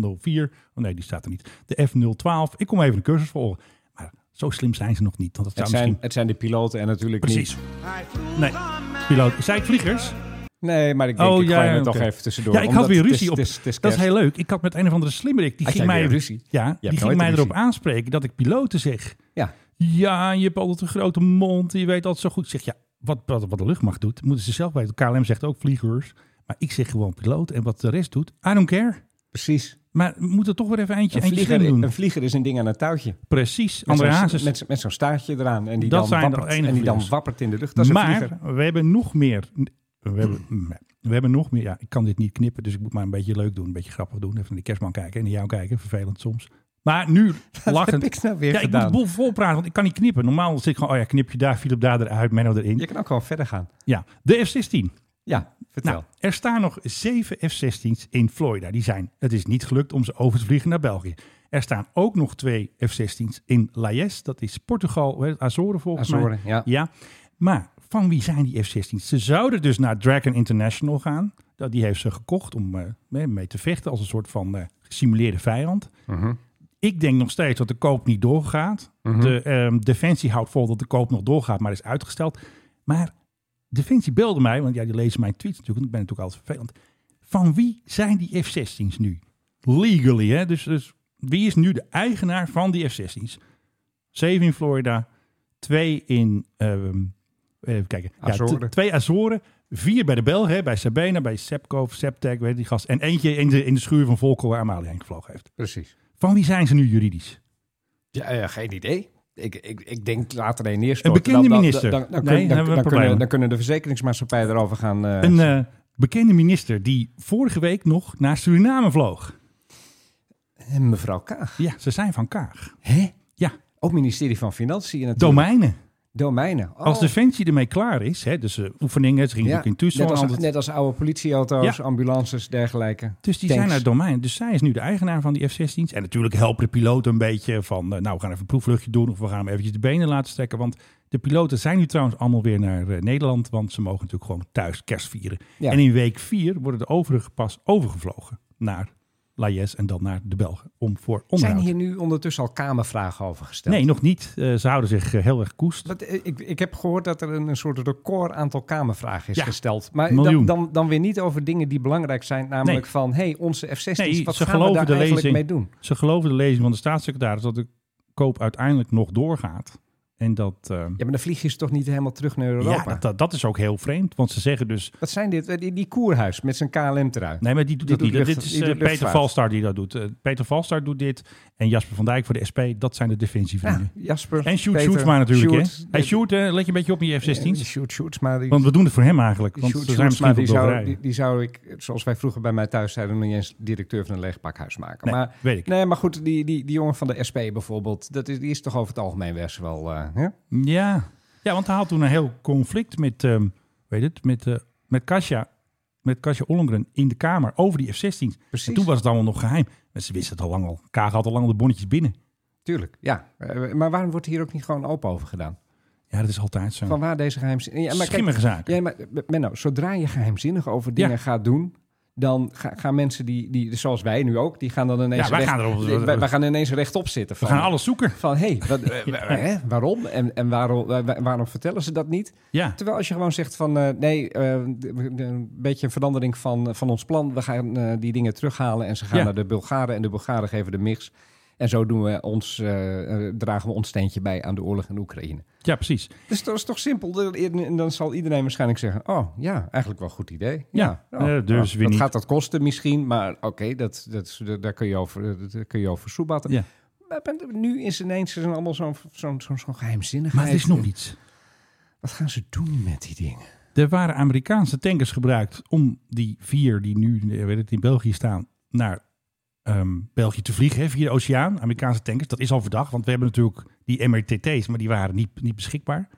Oh nee, die staat er niet. De F-012. Ik kom even een cursus volgen. Maar zo slim zijn ze nog niet. Want dat zou
Het zijn,
misschien...
het zijn de piloten en natuurlijk niet
Precies. Nee, piloot. Zei ik vliegers?
Nee, maar ik denk,
Oh,
ik
ja,
gooi
ja,
het
oké.
toch even tussendoor.
Ja, ik had
omdat
weer
het is-
ruzie op.
het is- het is
dat is
kerst.
heel leuk. Ik had met een of andere slimmerik. Die
Had
ging
jij
mij,
weer ruzie?
Ja,
hebt
die ging
nooit
mij
ruzie.
erop aanspreken dat ik piloten zeg.
Ja.
Ja, je hebt altijd een grote mond. Je weet altijd zo goed. Ik zeg, ja, wat, wat, wat de luchtmacht doet, moeten ze zelf weten. KLM zegt ook vliegers. Maar ik zeg gewoon piloot. En wat de rest doet, I don't care.
Precies.
Maar we moeten toch weer even eentje,
Een
eentje
vlieger,
slim doen.
een vlieger is een ding aan een touwtje. Met
Precies. André
zo'n-
Hazes.
Met, zo'n- met zo'n staartje eraan. En die,
Dat
dan
zijn de
wappert,
enige
en die dan
vliegers.
wappert in de lucht. Dat is een vlieger. Hmm.
maar we hebben nog meer. We hebben, mm, we hebben nog meer. Ja, ik kan dit niet knippen, dus ik moet maar een beetje leuk doen. Een beetje grappig doen. Even naar die kerstman kijken en naar jou kijken. Vervelend soms. Maar nu
Heb
lachend.
ik nou weer
Ja, ik moet de
gedaan.
boel vol praten, want ik kan niet knippen. Normaal zit ik gewoon, oh ja, knip je daar, Philip daar eruit, Menno erin.
Je kan ook gewoon verder gaan.
Ja, de F-16.
Ja, vertel.
Nou, er staan nog zeven F-16's in Florida. Die zijn, het is niet gelukt om ze over te vliegen naar België. Er staan ook nog twee F-16's in Lajes. Dat is Portugal, hè, Azoren volgens mij.
Azoren, ja.
Ja, Maar van wie zijn die F-16's? Ze zouden dus naar Dragon International gaan. Dat- Die heeft ze gekocht om eh, mee- mee te vechten als een soort van eh, gesimuleerde vijand.
Mhm.
Ik denk nog steeds dat de koop niet doorgaat. De ehm, Defensie houdt vol dat de koop nog doorgaat, maar is uitgesteld. Maar Defensie belde mij, want ja, die lezen mijn tweets natuurlijk. want Ik ben natuurlijk altijd vervelend. Van wie zijn die F-16's nu? Legally, hè? Dus, dus wie is nu de eigenaar van die F-16's? Zeven in Florida, twee in... ehm, even kijken. Ja,
Azoren.
t- twee Azoren, vier bij de Bel, hè, bij Sabena, bij Sepco, Septec, weet je die gast. En eentje in de, in de schuur van Volko waar Amalie heen gevlogen heeft.
Precies.
Van wie zijn ze nu juridisch?
Ja, eh, geen idee. Ik, ik, ik denk later een neerstorten.
Een bekende
Dan- dan-
minister.
Dan, dan, dan,
Nee,
kun-
hebben we
dan- dan kunnen,
problemen.
dan kunnen de verzekeringsmaatschappijen erover gaan... eh,
Een eh, bekende minister die vorige week nog naar Suriname vloog.
eh, mevrouw Kaag.
Ja, ze zijn van Kaag.
Hè?
Ja.
Ook ministerie van Financiën natuurlijk.
Domeinen.
Domeinen. Oh.
Als Defensie ermee klaar is, hè, dus eh, oefeningen, ze gingen
ja.
ook in
net,
Tucson.
als,
altijd.
net als oude politieauto's,
Ja.
ambulances, dergelijke.
Dus die
tanks.
zijn uit domein. Dus zij is nu de eigenaar van die F-16's. En natuurlijk helpen de piloten een beetje van, eh, nou, we gaan even een proefvluchtje doen of we gaan hem eventjes de benen laten strekken. Want de piloten zijn nu trouwens allemaal weer naar eh, Nederland, want ze mogen natuurlijk gewoon thuis kerst vieren.
Ja.
En in week 4 worden de overige pas overgevlogen naar La Yes en dan naar de Belgen om voor
Zijn
onderhoud.
hier nu ondertussen al kamervragen over gesteld?
Nee, nog niet. Eh, ze houden zich eh, heel erg koest.
Wat, eh, ik, ik heb gehoord dat er een, een soort record aantal kamervragen is
Ja,
gesteld. Maar dan,
miljoen.
dan, dan weer niet over dingen die belangrijk zijn. Namelijk van, hey, onze F-16's,
Nee,
wat
ze
gaan we
geloven
daar
de
eigenlijk
lezing.
mee doen?
Ze geloven de lezing van de staatssecretaris dat de koop uiteindelijk nog doorgaat. En dat, eh,
Ja, maar dan vlieg je ze toch niet helemaal terug naar Europa?
ja, dat, dat, dat is ook heel vreemd. Want ze zeggen dus,
Wat zijn dit? Eh, Die, die koerhuis met zijn KLM eruit.
Nee, maar die doet
Die
dat
doet
niet.
lucht-
dit is
die
eh,
doet
Peter
luchtvaart.
Valstar die dat doet. Eh, Peter Valstar doet dit. En Jasper van Dijk voor de SP. Dat zijn de
Ja,
defensievrienden.
Ah, Jasper.
En Sjoerd
Peter,
Sjoerdsma natuurlijk. hè?
Sjoerd,
Hey,
eh,
Sjoerd, eh, let je een beetje op met je
eh,
F-16's.
Sjoerd Sjoerdsma, die-
Want we doen het voor hem eigenlijk. Want
Sjoerd
ze zijn
Sjoerdsma,
misschien wel
die, zou,
doorrijden.
die, die zou ik, zoals wij vroeger bij mij thuis zeiden, nog niet eens directeur van een leegpakhuis maken.
Nee,
maar,
weet ik.
Nee, maar goed, die, die, die jongen van de SP bijvoorbeeld, dat is, die is toch over het algemeen best wel... eh, hè?
Ja. ja, want hij had toen een heel conflict met, ehm, weet het, met, eh, met Kasia. Met Kasia Ollongren in de Kamer over die F-16's.
Precies.
En toen was het allemaal nog geheim. Maar ze wisten het al lang al. Kaag had al lang de bonnetjes binnen.
Tuurlijk, ja. Eh, maar waarom wordt hier ook niet gewoon open over gedaan?
Ja, dat is altijd zo.
Van waar deze geheimzinnige... Ja, maar kijk,
Schimmige zaken.
ja, maar eh, Menno, zodra je geheimzinnig over dingen
Ja.
gaat doen... Dan ga- gaan mensen die, die, zoals wij nu ook, die gaan dan ineens,
Ja, wij gaan erop-
die- wij, wij gaan ineens rechtop zitten.
We
van-
gaan alles zoeken.
Van, hé, wat, eh, wa- hè, waarom? En, en waarom, wa- wa- waarom vertellen ze dat niet?
Ja.
Terwijl als je gewoon zegt van, eh, nee, eh, d- d- een beetje een verandering van, eh, van ons plan. We gaan eh, die dingen terughalen en ze gaan
Ja.
naar de Bulgaren. En de Bulgaren geven de mix. En zo doen we ons, eh, eh, dragen we ons steentje bij aan de oorlog in Oekraïne.
Ja, precies.
Dus dat is toch simpel? En en dan zal iedereen waarschijnlijk zeggen, oh ja, eigenlijk wel een goed idee.
Ja,
nou,
eh, dus
nou,
weer
dat
niet.
gaat dat kosten misschien, maar oké, dat, dat, is- da- daar kun je over, daar kun je over soebatten.
Ja.
Maar ben- nu is ineens er zijn allemaal zo'n zo'n zo'n zo'n geheimzinnigheid.
Maar het is nog iets.
Wat gaan ze doen met die dingen?
Er waren Amerikaanse tankers gebruikt om die vier die nu eh, weet het, in België staan naar ehm, België te vliegen. Hè, via de oceaan, Amerikaanse tankers. Dat is al verdacht, want we hebben natuurlijk die MRTT's, maar die waren niet, niet beschikbaar.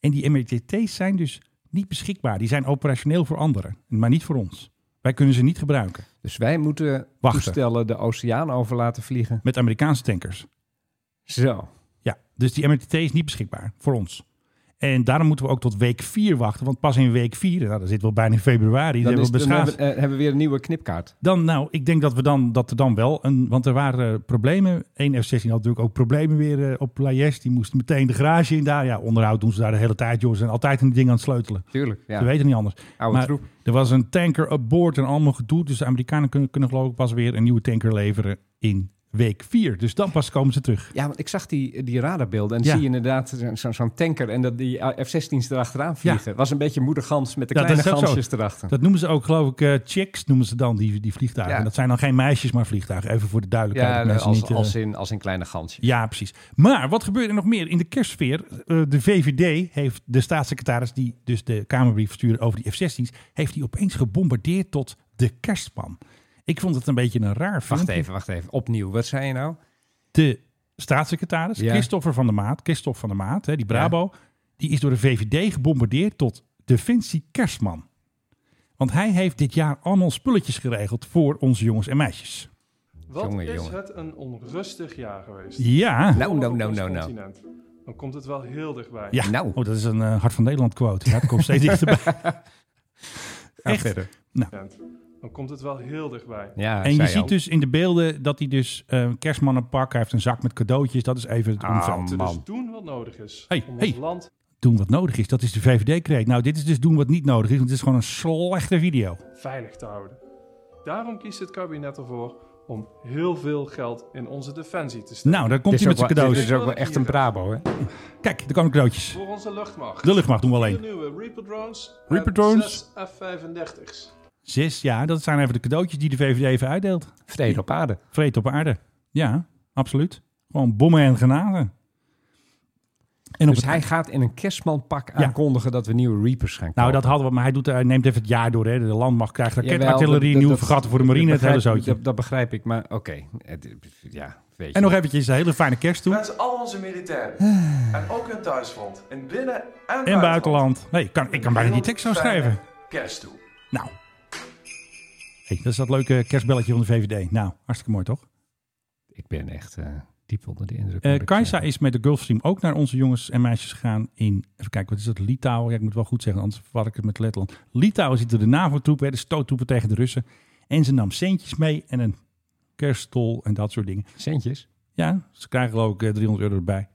En die MRTT's zijn dus niet beschikbaar. Die zijn operationeel voor anderen, maar niet voor ons. Wij kunnen ze niet gebruiken
Dus wij moeten
Wachten.
toestellen de oceaan over laten vliegen.
met Amerikaanse tankers.
Zo.
Ja, dus die MRTT is niet beschikbaar voor ons. En daarom moeten we ook tot week 4 wachten. Want pas in week 4, nou, dat zit wel bijna in februari,
Dan,
dan,
is,
hebben we
dan
beschaafd.
hebben, eh, hebben we weer een nieuwe knipkaart.
Dan, nou, ik denk dat we dan, dat er dan wel een. Want er waren eh, problemen. 1 F-16 had natuurlijk ook problemen weer eh, op Lajes. Die moesten meteen de garage in daar. Ja, onderhoud doen ze daar de hele tijd, joh. Ze zijn altijd een ding aan het sleutelen.
Tuurlijk, ja.
Ze weten niet anders.
Oude
maar
troep.
er was een tanker aboard en allemaal gedoe. Dus de Amerikanen kunnen, kunnen geloof ik pas weer een nieuwe tanker leveren in week 4. Dus dan pas komen ze terug.
Ja, want ik zag die, die radarbeelden en
Ja.
zie je inderdaad zo- zo'n tanker en dat die F-16's erachteraan vliegen. Was een beetje moedergans met de
Ja, dat
kleine
is ook zo.
gansjes erachter.
Dat noemen ze ook, geloof ik, eh, chicks noemen ze dan die, die vliegtuigen.
Ja.
En dat zijn dan geen meisjes, maar vliegtuigen. Even voor de duidelijkheid.
ja,
dat mensen
als,
niet, eh,
als, in, als in kleine gansjes.
Ja, precies. Maar wat gebeurde er nog meer in de kerstsfeer? Eh, de VVD heeft de staatssecretaris die dus de Kamerbrief stuurde over die F-16's, heeft die opeens gebombardeerd tot de kerstman. Ik vond het een beetje een raar
Wacht
filmpje.
even, wacht even. Opnieuw, wat zei je nou?
De staatssecretaris,
Ja.
Christopher van der Maat, Christophe van der Maat, hè, die Brabo, die is door de VVD gebombardeerd tot Defensie Kerstman. Want hij heeft dit jaar allemaal spulletjes geregeld voor onze jongens en meisjes.
Wat
Jongen,
is
jongen.
het een onrustig jaar geweest?
Ja,
Nou,
Allemaal
nou,
op
nou,
ons
nou, nou.
continent. dan komt het wel heel dichtbij.
Ja,
Nou.
oh, dat is een eh, Hart van Nederland quote. Ja, het komt steeds dichterbij. Echt.
verder.
Dan komt het wel heel dichtbij.
Ja,
En je
zei
ziet
al.
dus in de beelden dat hij dus eh, een kerstman een pak, hij heeft een zak met cadeautjes. Dat is even het
Ah,
omveld.
Te
man.
dus doen wat nodig is
Hey,
om
hey.
ons land
Doen wat nodig is, dat is de VVD-kreet. Nou, dit is dus doen wat niet nodig is, want het is gewoon een slechte video.
veilig te houden. Daarom kiest het kabinet ervoor om heel veel geld in onze defensie te steken.
Nou, daar
Dit
komt
is
hij
ook
met zijn
wel-
cadeaus.
Dit is ook wel echt een Brabo, hè?
Kijk, er komen cadeautjes.
Voor onze luchtmacht.
De luchtmacht doen we
Vier
alleen.
nieuwe Reaper drones.
Reaper
en
drones.
zes F-35's.
Zes, ja, dat zijn even de cadeautjes die de VVD even uitdeelt.
Vrede op aarde.
Vreed op aarde. Ja, absoluut. Gewoon bommen en granaten. En op
Dus
het-
hij gaat in een kerstmanpak aankondigen dat we nieuwe Reapers gaan
Nou,
kopen.
dat hadden we, maar hij, doet, hij neemt even het jaar door. Hè. De landmacht krijgt raketartillerie,
Jawel, dat-
nieuwe
dat-
vergatten voor de marine,
dat
het hele
begrijp-
zootje.
Dat, dat begrijp ik, maar oké. Het- Ja, weet je.
En nog eventjes een hele fijne kerst toe.
Wens al onze militairen en ook hun thuisfront in binnen- en,
En
buitenland
Ah. buitenland. Nee, ik kan, ik kan bijna die tekst zo
Fijne
schrijven.
Kerst toe.
Nou. Hey, dat is dat leuke kerstbelletje van de VVD. Nou, hartstikke mooi toch?
Ik ben echt eh, diep onder de indruk. moet
Eh
ik
Kajsa
zeggen.
is met de Gulfstream ook naar onze jongens en meisjes gegaan in... Even kijken, wat is dat? Litouwen? Ja, ik moet wel goed zeggen, anders verwar ik het met Letland. Litouwen zitten de NAVO-troepen, hè, de stoottroepen tegen de Russen. En ze nam centjes mee en een kerststol en dat soort dingen.
Centjes?
Ja, ze krijgen geloof ik eh, 300 euro erbij.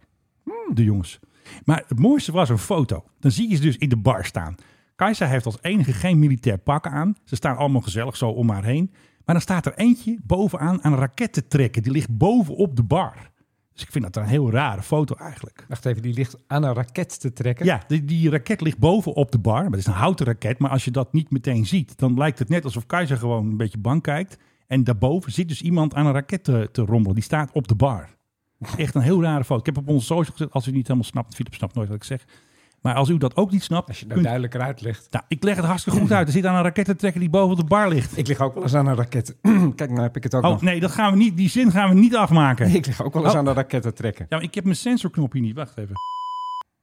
Hmm, De jongens. Maar het mooiste was een foto. Dan zie je ze dus in de bar staan. Kajsa heeft als enige geen militair pak aan. Ze staan allemaal gezellig zo om haar heen. Maar dan staat er eentje bovenaan aan een raket te trekken. Die ligt bovenop de bar. Dus ik vind dat een heel rare foto eigenlijk.
Wacht even, die ligt aan een raket te trekken.
Ja, die, die raket ligt bovenop de bar. Maar het is een houten raket. Maar als je dat niet meteen ziet, dan lijkt het net alsof Keizer gewoon een beetje bang kijkt. En daarboven zit dus iemand aan een raket te, te rommelen. Die staat op de bar. Echt een heel rare foto. Ik heb op onze social gezet, als u niet helemaal snapt, Philip snapt nooit wat ik zeg. Maar als u dat ook niet snapt,
Als je dat
kunt-
duidelijker uitlegt.
nou, ik leg het hartstikke goed uit. Er zit aan een raket te trekken die boven op de bar ligt.
Ik lig ook wel eens aan een raket. Kijk, nou heb ik het ook
Oh
nog.
nee, dat gaan we niet, die zin gaan we niet afmaken.
Ik lig ook wel eens
Oh.
aan een raket te trekken.
Ja, maar ik heb mijn sensorknopje niet. Wacht even.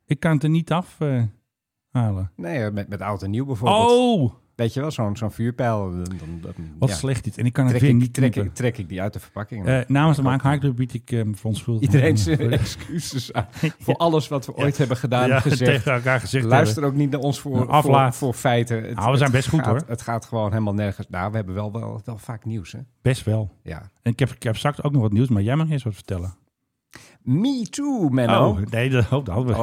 Ik kan het er niet af eh, halen.
Nee, eh, met, met oud en nieuw bijvoorbeeld.
Oh,
Weet je wel, zo'n zo'n vuurpijl. Dan, dan, dan-
wat
ja.
slecht dit. En ik kan het
Trek
weer
ik,
niet
trek,
knippen.
ik, trek ik die uit de verpakking.
Eh, namens de Maak bied ik um, voor ons schuld.
Iedereen zijn
Ja,
excuses aan voor alles wat we ooit hebben gedaan,
ja,
gezegd.
tegen elkaar gezegd eh,
Luister ook niet naar ons
Nou,
voor, voor,
aflaat.
voor feiten. Het-
Nou, we zijn
het
best goed,
gaat-
hoor.
Het gaat gewoon helemaal nergens. Nou, we hebben wel, wel, wel vaak nieuws, hè?
hebben. Best wel.
Ja.
En ik heb, ik heb straks ook nog wat nieuws, maar jij mag eerst wat vertellen.
Me too, Menno.
Oh, nee, dat, oh, dat hadden we.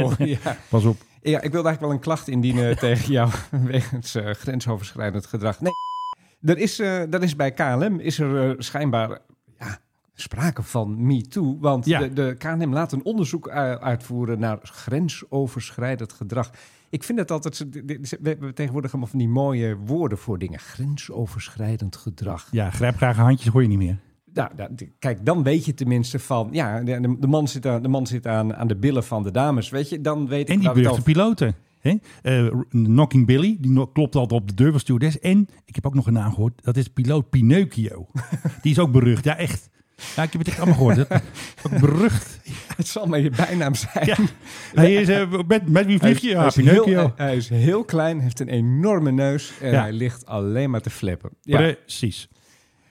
Oh, ja.
Pas op.
ja. Ik wilde eigenlijk wel een klacht indienen tegen jou wegens eh, grensoverschrijdend gedrag. Nee, er is, eh, er is bij KLM is er eh, schijnbaar eh, ja, sprake van me too. Want
Ja.
de, de KLM laat een onderzoek eh, uitvoeren naar grensoverschrijdend gedrag. Ik vind het altijd, zo- dit- dit- we hebben tegenwoordig allemaal van die mooie woorden voor dingen. Grensoverschrijdend gedrag.
Ja, grijp graag handjes, hoor je niet meer.
Nou, dat- kijk, dan weet je tenminste van... Ja, de, de- de man zit, aan, de man zit aan, aan de billen van de dames, weet je. Dan weet ik
En die
waar we het
beruchte
over-
piloten. Hè? Eh, Knocking Billy, die no- klopt altijd op de deur van stewardess. En, ik heb ook nog een naam gehoord, dat is piloot Pinocchio. die is ook berucht, ja echt. Ja, ik heb het echt allemaal gehoord. Dat, dat is berucht.
Het zal maar je bijnaam zijn.
Ja. Hij is, eh, met, met wie
Hij
vlieg
is,
je?
hij
Ja,
is heel,
Pinocchio.
hij- hij is heel klein, heeft een enorme neus en
Ja.
hij ligt alleen maar te flippen. Ja.
Precies.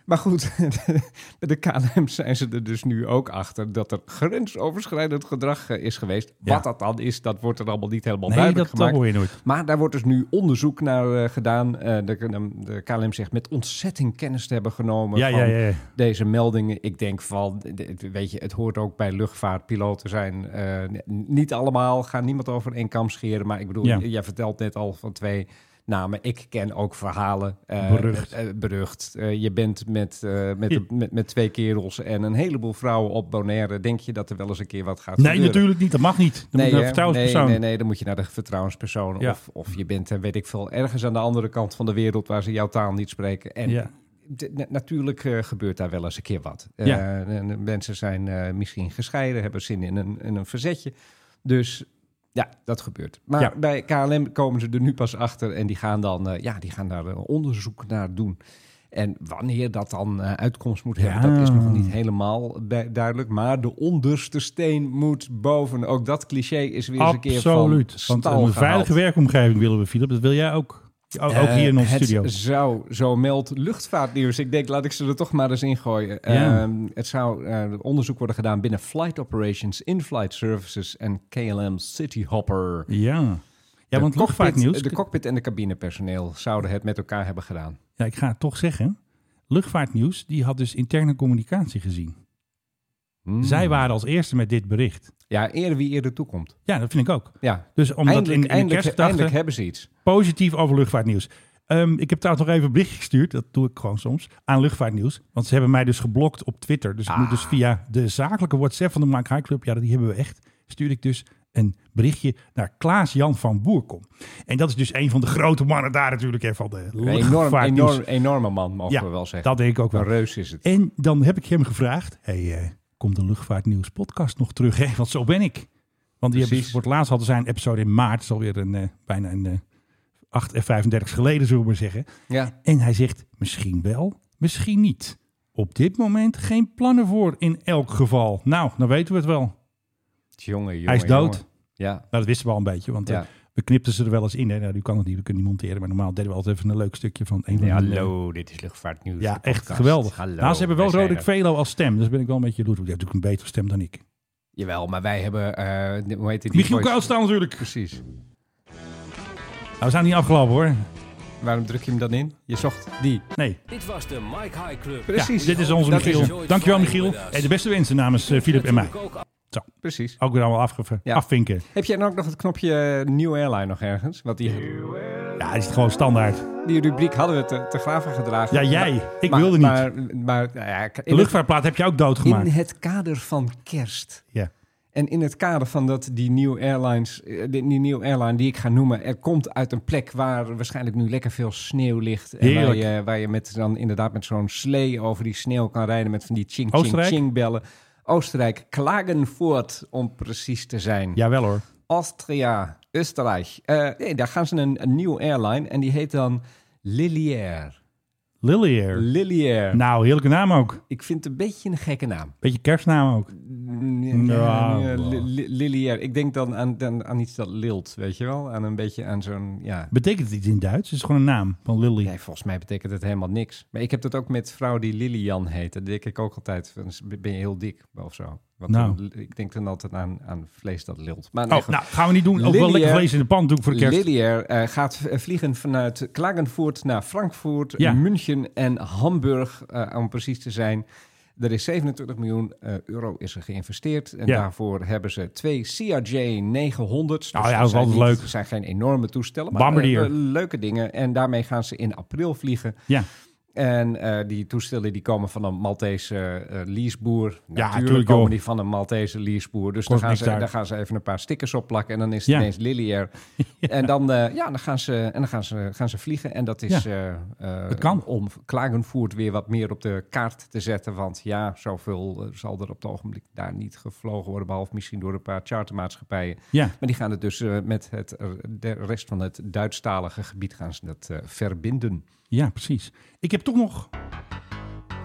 Maar goed, bij de KLM zijn ze er dus nu ook achter dat er grensoverschrijdend gedrag eh, is geweest.
Ja.
Wat dat dan is, dat wordt er allemaal niet helemaal
Nee,
duidelijk
dat, dat
gemaakt.
hoor je nooit.
Maar daar wordt dus nu onderzoek naar eh, gedaan. Eh, de, de KLM zegt met ontzetting kennis te hebben genomen
Ja,
van
ja, ja. ja.
deze meldingen. Ik denk van, d- d- weet je, het hoort ook bij luchtvaartpiloten zijn. eh, n- niet allemaal, gaan niemand over één kam scheren. Maar ik bedoel,
Ja.
j- jij vertelt net al van twee namen. Ik ken ook verhalen. eh,
Berucht.
eh, berucht. Eh, je bent met, eh, met, de- met, met twee kerels en een heleboel vrouwen op Bonaire. Denk je dat er wel eens een keer wat gaat
Nee,
gebeuren?
natuurlijk niet. Dat mag niet. Dan moet
Nee,
je een
hè? nee,
vertrouwenspersoon.
nee, nee, dan moet je naar de vertrouwenspersoon.
Ja.
Of, of je bent, eh, weet ik veel, ergens aan de andere kant van de wereld waar ze jouw taal niet spreken. En
Ja.
de- na- natuurlijk eh, gebeurt daar wel eens een keer wat.
Ja.
Eh, en, eh, mensen zijn eh, misschien gescheiden, hebben zin in een, in een verzetje. Dus ja, dat gebeurt. Maar
Ja.
bij KLM komen ze er nu pas achter en die gaan dan, eh, ja, die gaan daar eh, onderzoek naar doen. En wanneer dat dan eh, uitkomst moet hebben, dat is
Ja.
nog niet helemaal bij- duidelijk. Maar de onderste steen moet boven. Ook dat cliché is weer eens een keer van
Absoluut. Want
stal
een
gehaald.
veilige werkomgeving willen we, Philip. Dat wil jij ook. Ook, ook hier in
Eh,
onze
het
studio.
zou zo meld luchtvaartnieuws. Ik denk, laat ik ze er toch maar eens ingooien.
Ja.
Ehm, het zou eh, onderzoek worden gedaan binnen Flight Operations, In-Flight Services en KLM City Hopper.
Ja. Ja, want
de cockpit,
luchtvaartnieuws...
De cockpit en de cabinepersoneel zouden het met elkaar hebben gedaan.
Ja, ik ga het toch zeggen. Luchtvaartnieuws, die had dus interne communicatie gezien.
Hmm.
Zij waren als eerste met dit bericht.
Ja, eerder wie eerder toekomt.
Ja, dat vind ik ook.
Ja,
Dus omdat
eindelijk,
in, in de
eindelijk,
kerstgedachte
eindelijk hebben ze iets.
positief over luchtvaartnieuws. Ehm, ik heb trouwens nog even een berichtje gestuurd, dat doe ik gewoon soms, aan luchtvaartnieuws. Want ze hebben mij dus geblokt op Twitter. Dus ik moet
Ah.
dus via de zakelijke WhatsApp van de Mark High Club, ja die hebben we echt, stuur ik dus een berichtje naar Klaas-Jan van Boerkom. En dat is dus een van de grote mannen daar natuurlijk, hè, van de
Een enorm,
luchtvaartnieuws.
enorm, enorme man, mogen
Ja,
we wel zeggen.
dat denk ik ook wel.
Een reus is het.
En dan heb ik hem gevraagd: hey, eh, komt de Luchtvaartnieuws podcast nog terug? Hè? Want zo ben ik. Want die hebben,
Precies.
voor het laatst hadden zij een episode in maart. Dat is alweer een, eh, bijna een eh, 8 en 35 geleden, zullen we maar zeggen.
Ja.
En hij zegt: misschien wel, misschien niet. Op dit moment geen plannen voor in elk geval. Nou, dan weten we het wel.
Jongen, jongen,
hij is dood.
jongen. Ja,
Nou, dat wisten we al een beetje, want eh,
ja.
we knipten ze er wel eens in. Hè. Nou, nu kan het niet, we kunnen niet monteren. Maar normaal deden we altijd even een leuk stukje van een van
Ja,
die, eh,
hallo, dit is Luchtvaartnieuws.
Ja,
Dus de
echt
podcast.
geweldig.
Hallo,
nou, ze hebben wel
wij zijn
Roderick
er.
Velo als stem. Dus ben ik wel een beetje loer. Die heeft natuurlijk een betere stem dan ik.
Jawel, maar wij hebben, eh, de- hoe heet die?
Michiel
voice-
Koudstaan natuurlijk.
Precies.
Nou, we zijn niet afgelopen hoor.
Waarom druk je hem dan in? Je zocht die.
Nee,
Dit was de Mike High Club.
Precies,
dit is onze
Dat is
Michiel. Dankjewel Michiel. En de beste wensen namens eh, Filip en mij.
Natuurlijk ook
precies.
Ook weer allemaal afge-
Ja.
afvinken.
Heb jij dan ook nog het knopje eh, New Airline nog ergens? Want die,
Ja, dit is gewoon standaard.
die rubriek hadden we te, te graven gedragen.
Ja, jij.
Maar-
Ik
maar-
wilde niet.
Maar, maar nou ja, ik-
De
in, het,
luchtvaartplaat heb je ook
in
doodgemaakt.
het kader van kerst.
Ja.
En in het kader van dat die New Airlines, eh, die, die New Airline die ik ga noemen, er komt uit een plek waar waarschijnlijk nu lekker veel sneeuw ligt. En waar
Heerlijk.
je, waar je met dan inderdaad met zo'n slee over die sneeuw kan rijden met van die ching ching
Oostenrijk?
ching bellen. Oostenrijk, Klagenvoort om precies te zijn.
Jawel hoor.
Austria, Oostenrijk. Eh, nee, daar gaan ze een, een nieuwe airline en die heet dan Liliaire.
Lillier.
Liliaire.
Nou, heerlijke naam ook.
Ik vind het een beetje een gekke naam.
Beetje kerstnaam ook. Ja.
Ja, ja, li- li- Liliair. Ik denk dan aan, dan aan iets dat lilt, weet je wel? Aan een beetje aan zo'n, ja...
Betekent het iets in Duits? Het is gewoon een naam van Lily.
Nee, volgens mij betekent het helemaal niks. Maar ik heb dat ook met vrouwen die Lilian heet. Dat denk ik ook altijd. van, Ben je heel dik of zo? Want
Nou.
dan- ik denk dan altijd aan, aan vlees dat lilt. Maar nee,
Oh,
goed.
nou, gaan we niet doen. Ook wel lekker
Lillier.
vlees in de pan doen voor de kerst.
Liliair eh, gaat v- vliegen vanuit Klagenvoort naar Frankfurt,
Ja.
München en Hamburg, eh, om precies te zijn. Er is 27 miljoen eh, euro is er geïnvesteerd. En
Ja.
daarvoor hebben ze twee CRJ 900's.
Nou ja, dat is
Dus zijn
altijd
niet-
leuk.
zijn geen enorme toestellen, maar
Bombardier.
eh, leuke dingen. En daarmee gaan ze in april vliegen.
Ja.
En eh, die toestellen die komen van een Maltese eh, leaseboer. Natuurlijk
tuurlijk,
komen
joh.
die van een Maltese leaseboer. Dus
Kost
dan gaan,
niks
ze,
daar.
dan gaan ze even een paar stickers opplakken. En dan is het
Ja.
ineens Liliair. En dan, eh, ja, dan, gaan, ze, en dan gaan, ze, gaan ze vliegen. En dat is eh, eh,
Het kan.
om Klagenvoort weer wat meer op de kaart te zetten. Want ja, zoveel eh, zal er op het ogenblik daar niet gevlogen worden. Behalve misschien door een paar chartermaatschappijen.
Ja.
Maar die gaan het dus eh, met het, eh, de rest van het Duitsstalige gebied gaan ze dat eh, verbinden.
Ja, precies. Ik heb toch nog...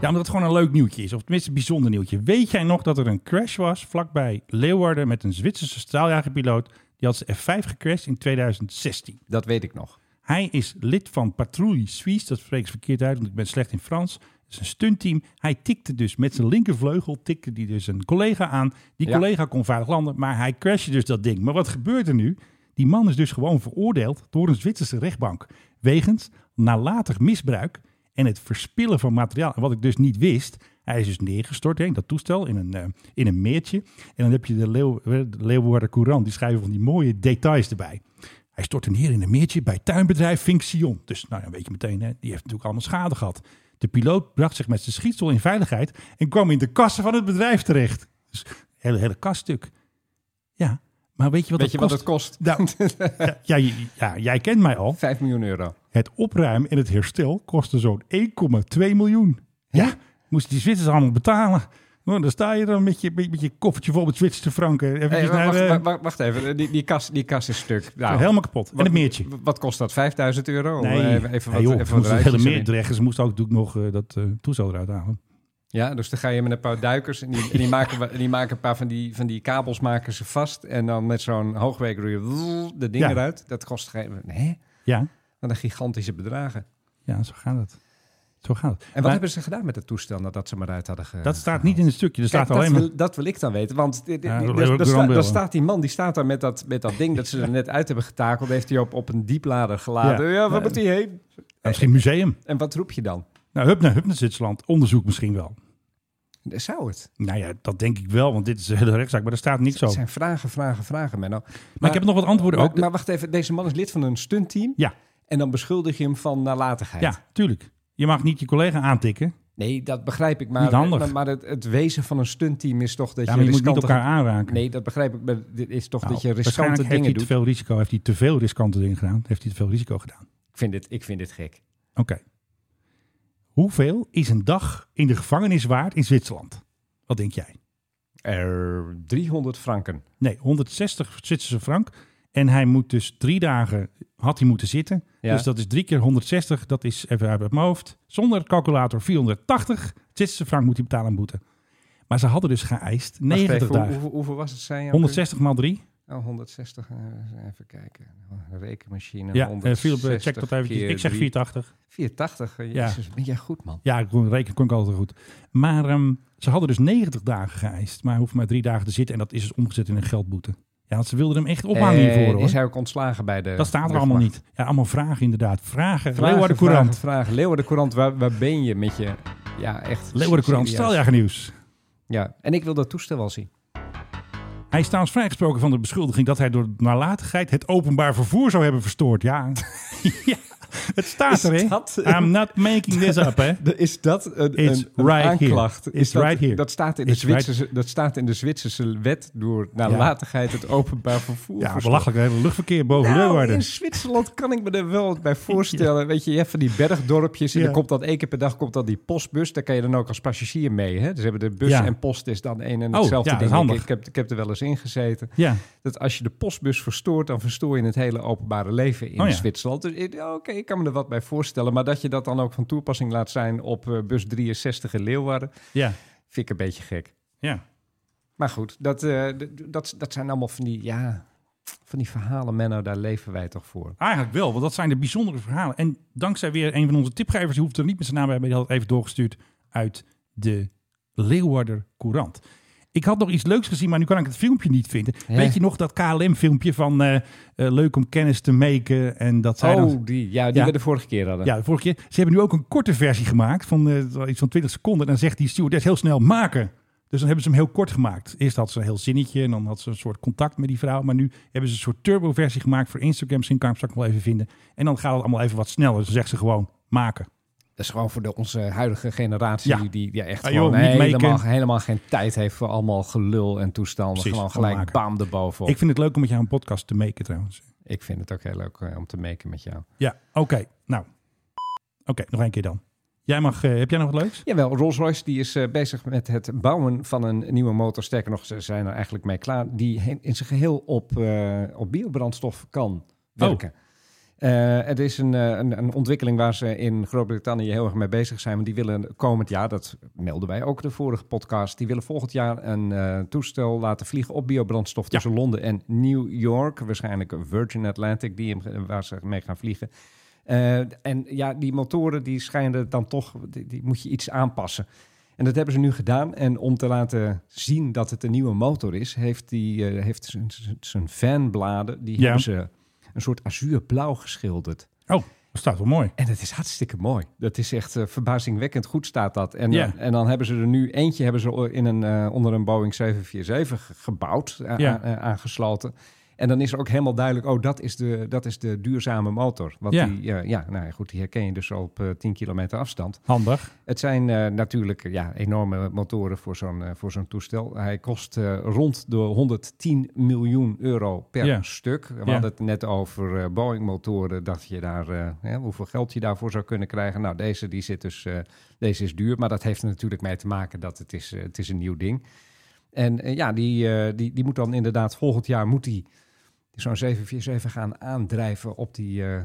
Ja, omdat het gewoon een leuk nieuwtje is. Of tenminste een bijzonder nieuwtje. Weet jij nog dat er een crash was vlakbij Leeuwarden met een Zwitserse straaljagerpiloot? Die had zijn F5 gecrashed in 2016.
Dat weet ik nog.
Hij is lid van Patrouille Suisse. Dat spreek ik verkeerd uit, want ik ben slecht in Frans. Het is een stuntteam. Hij tikte dus met zijn linkervleugel, tikte die dus een collega aan. Die
Ja.
collega kon veilig landen, maar hij crashte dus dat ding. Maar wat gebeurt er nu? Die man is dus gewoon veroordeeld door een Zwitserse rechtbank. Wegens nalatig misbruik en het verspillen van materiaal. En wat ik dus niet wist, hij is dus neergestort, hè, dat toestel, in een, eh, in een meertje. En dan heb je de, Leeuw, eh, de Leeuwarden Courant, die schrijven van die mooie details erbij. Hij stortte neer in een meertje bij tuinbedrijf Vink Sion. Dus nou ja, weet je meteen, hè, die heeft natuurlijk allemaal schade gehad. De piloot bracht zich met zijn schietstoel in veiligheid en kwam in de kassen van het bedrijf terecht. Dus een hele, hele kaststuk. Ja, maar weet je wat
weet
dat
je
kost?
wat het kost?
Nou, ja, ja, j- ja, jij kent mij al.
5 miljoen euro.
Het opruimen en het herstel kostte zo'n 1,2 miljoen. Ja, moesten die Zwitsers allemaal betalen. Nou, dan sta je dan met je, met, met je koffertje vol met Zwitserse franken. Eventjes
Hey,
naar,
wacht,
eh,
wacht, wacht, wacht even, die, die, kas, die kas is stuk. Nou,
helemaal kapot. En
wat-
een meertje.
Wat kost dat? 5000 euro?
Nee,
Eh, Even, even
Nee, joh,
wat,
ze
even
moesten
wat
het hele
rijtjes
meer
erin.
dreggen. Ze moesten ook natuurlijk nog eh, dat eh, toestel eruit halen.
Ja, dus dan ga je met een paar duikers en die, en die, maken, we- die maken een paar van die, van die kabels maken ze vast. En dan met zo'n hoogwerker doe je de dingen
Ja.
eruit. Dat kost geen... Hè?
Ja,
naar de gigantische bedragen.
Ja, zo gaat het. Zo gaat het.
En wat
Maar
hebben ze gedaan met het toestel nadat ze maar uit hadden ge-
dat staat niet in het stukje. Er
Kijk,
staat alleen
dat,
maar...
wil, dat wil ik dan weten. Want dit- dit-
Ja, dat
dit-
wil ik ook
daar
de
sta-
randbeelden.
daar staat die man, die staat daar met dat, met dat ding dat ze er net uit hebben getakeld. Heeft hij op, op een dieplader geladen.
Ja.
Ja, waar moet hij heen?
Ja, Nou, misschien museum.
En wat roep je dan?
Nou, hup naar, hup naar Zwitserland. Onderzoek misschien wel.
Zou het?
Nou ja, dat denk ik wel, want dit is de hele rechtszaak. Maar er staat niks
Het
over.
zijn vragen, vragen, vragen, Menno. Maar,
Maar ik heb nog wat antwoorden ook.
Maar, maar wacht even, deze man is lid van een stuntteam.
Ja.
En dan beschuldig je hem van nalatigheid.
Ja, tuurlijk. Je mag niet je collega aantikken.
Nee, dat begrijp ik. Maar,
Niet handig.
maar, maar het, het wezen van een stuntteam is toch dat
Ja,
je
maar je moet niet
riskante...
elkaar aanraken.
Nee, dat begrijp ik. Maar dit is toch
Nou,
dat je riskante
waarschijnlijk heeft
dingen
hij te
doet.
veel risico. Heeft hij te veel riskante dingen gedaan? Heeft hij te veel risico gedaan?
Ik, vind dit, ik vind dit gek.
Oké. Hoeveel is een dag in de gevangenis waard in Zwitserland? Wat denk jij?
Er 300 franken.
Nee, 160 Zwitserse frank. En hij moet dus drie dagen, had hij moeten zitten.
Ja.
Dus dat is drie keer 160. Dat is even uit mijn hoofd. Zonder calculator 480 Zwitserse frank moet hij betalen aan boete. Maar ze hadden dus geëist
Wacht even,
90
hoe-
dagen.
hoeveel- hoeveel was het? Zijn je?
160 maal 3.
Oh, 160. eh, even kijken. Oh, Rekenmachine.
Ja, eh,
160
Philip, eh, check dat eventjes.
keer
Ik zeg
drie.
480.
480. eh,
Ja.
Jezus, ben jij goed, man.
Ja, ik kon rekenen kon ik altijd goed. Maar ehm, ze hadden dus 90 dagen geëist. Maar hij hoeft maar drie dagen te zitten. En dat is dus omgezet in een geldboete. Ja, want ze wilden hem echt ophangen
Eh,
hiervoor.
Is
Hoor.
hij ook ontslagen bij de...
Dat staat er
luchtmacht?
allemaal niet. Ja, allemaal vragen inderdaad. Vragen.
Vragen,
Leeuwarden
vragen,
Courant.
Vragen. Leeuwarden Courant, waar, waar ben je met je... Ja, echt.
Leeuwarden Courant.
serieus.
Straaljagernieuws.
Ja, en ik wil dat toestel wel zien.
Hij is trouwens vrijgesproken van de beschuldiging dat hij door nalatigheid het openbaar vervoer zou hebben verstoord. Ja, ja het staat
Is
er, hè?
dat-
I'm not making this up, hè?
Is dat een,
It's
een- een
right
aanklacht?
here.
Is
It's
dat,
right here.
Dat staat, in de
It's right-
Zwitserse, dat staat in de Zwitserse wet door nalatigheid het openbaar vervoer.
Ja,
verstoren.
belachelijk. Het hele luchtverkeer boven
Nou,
Leeuwarden.
in Zwitserland kan ik me er wel wat bij voorstellen. Weet je, je hebt van die bergdorpjes en
Ja.
dan komt dat één keer per dag komt dan die postbus. Daar kan je dan ook als passagier mee. Hè? Dus hebben de bus
Ja.
en post is dan één en
Oh,
hetzelfde
ja, dat is
ding. Ik-
handig.
Ik, heb, ik heb er wel eens in gezeten.
Ja,
Dat als je de postbus verstoort, dan verstoor je het hele openbare leven in
Oh ja.
Zwitserland. Dus ik- ja, oké, ik kan me er wat bij voorstellen. Maar dat je dat dan ook van toepassing laat zijn op eh, bus 63 in Leeuwarden,
ja,
vind ik een beetje gek.
ja.
Maar goed, dat, eh, d- dat, dat zijn allemaal van die, ja, van die verhalen, Menno, daar leven wij toch voor.
Eigenlijk wel, want dat zijn de bijzondere verhalen. En dankzij weer een van onze tipgevers, die hoeft er niet met zijn naam bij, maar die had het even doorgestuurd uit de Leeuwarder Courant. Ik had nog iets leuks gezien, maar nu kan ik het filmpje niet vinden.
Ja.
Weet je nog dat KLM-filmpje van eh, eh, leuk om kennis te maken en dat zij dan...
oh, die, ja, die
Ja.
we de vorige keer hadden.
Ja, de vorige keer. Ze hebben nu ook een korte versie gemaakt van eh, iets van 20 seconden. En dan zegt die stewardess heel snel maken. Dus dan hebben ze hem heel kort gemaakt. Eerst had ze een heel zinnetje en dan had ze een soort contact met die vrouw. Maar nu hebben ze een soort turbo-versie gemaakt voor Instagram. Misschien kan ik hem straks nog wel even vinden. En dan gaat het allemaal even wat sneller. Dus dan zegt ze gewoon maken.
Dat is gewoon voor de, onze huidige generatie,
Ja.
die ja, echt
Ah,
gewoon
joh, niet
helemaal,
maken.
helemaal geen tijd heeft voor allemaal gelul en toestanden.
Precies,
gewoon
gewoon
gelijk
maken.
baam erbovenop.
Ik
Ik,
vind het leuk om met jou een podcast te maken trouwens.
ik vind het ook heel leuk eh, om te maken met jou.
Ja, oké. Nou, oké, nog één keer dan. Jij mag, eh, heb jij nog wat leuks?
Jawel, Rolls-Royce die is eh, bezig met het bouwen van een nieuwe motor. Sterker nog, ze zijn er eigenlijk mee klaar. Die he- in zijn geheel op, eh, op biobrandstof kan werken. Eh, het is een, eh, een, een ontwikkeling waar ze in Groot-Brittannië heel erg mee bezig zijn. Want die willen komend jaar, dat melden wij ook de vorige podcast, die willen volgend jaar een eh, toestel laten vliegen op biobrandstof tussen Londen en New York. Waarschijnlijk Virgin Atlantic, die hem, eh, waar ze mee gaan vliegen. Eh, en ja, die motoren die schijnen dan toch, die, die moet je iets aanpassen. En dat hebben ze nu gedaan. En om te laten zien dat het een nieuwe motor is, heeft, die, eh, heeft zijn- zijn- zijn fanbladen, die
Ja.
hebben ze een soort azuurblauw geschilderd.
Oh, dat staat wel mooi.
En het is hartstikke mooi. Dat is echt eh, verbazingwekkend goed staat dat. En,
Ja.
eh, en dan hebben ze er nu eentje hebben ze in een, eh, onder een Boeing 747 ge- gebouwd, a-
Ja.
a- eh, aangesloten. En dan is er ook helemaal duidelijk, oh, dat is de, dat is de duurzame motor. Want
Ja.
die, eh, ja, nou ja, goed, die herken je dus al op eh, 10 kilometer afstand.
Handig.
Het zijn eh, natuurlijk eh, ja, enorme motoren voor zo'n eh, voor zo'n toestel. Hij kost eh, rond de 110 miljoen euro per
Ja.
stuk. We
Ja.
hadden het net over eh, Boeing-motoren, dat je daar, eh, hè, hoeveel geld je daarvoor zou kunnen krijgen. Nou, deze, die zit dus, eh, deze is duur, maar dat heeft er natuurlijk mee te maken dat het is, eh, het is een nieuw ding. En eh, ja, die, eh, die, die moet dan inderdaad volgend jaar moet die zo'n 747 gaan aandrijven op die eh,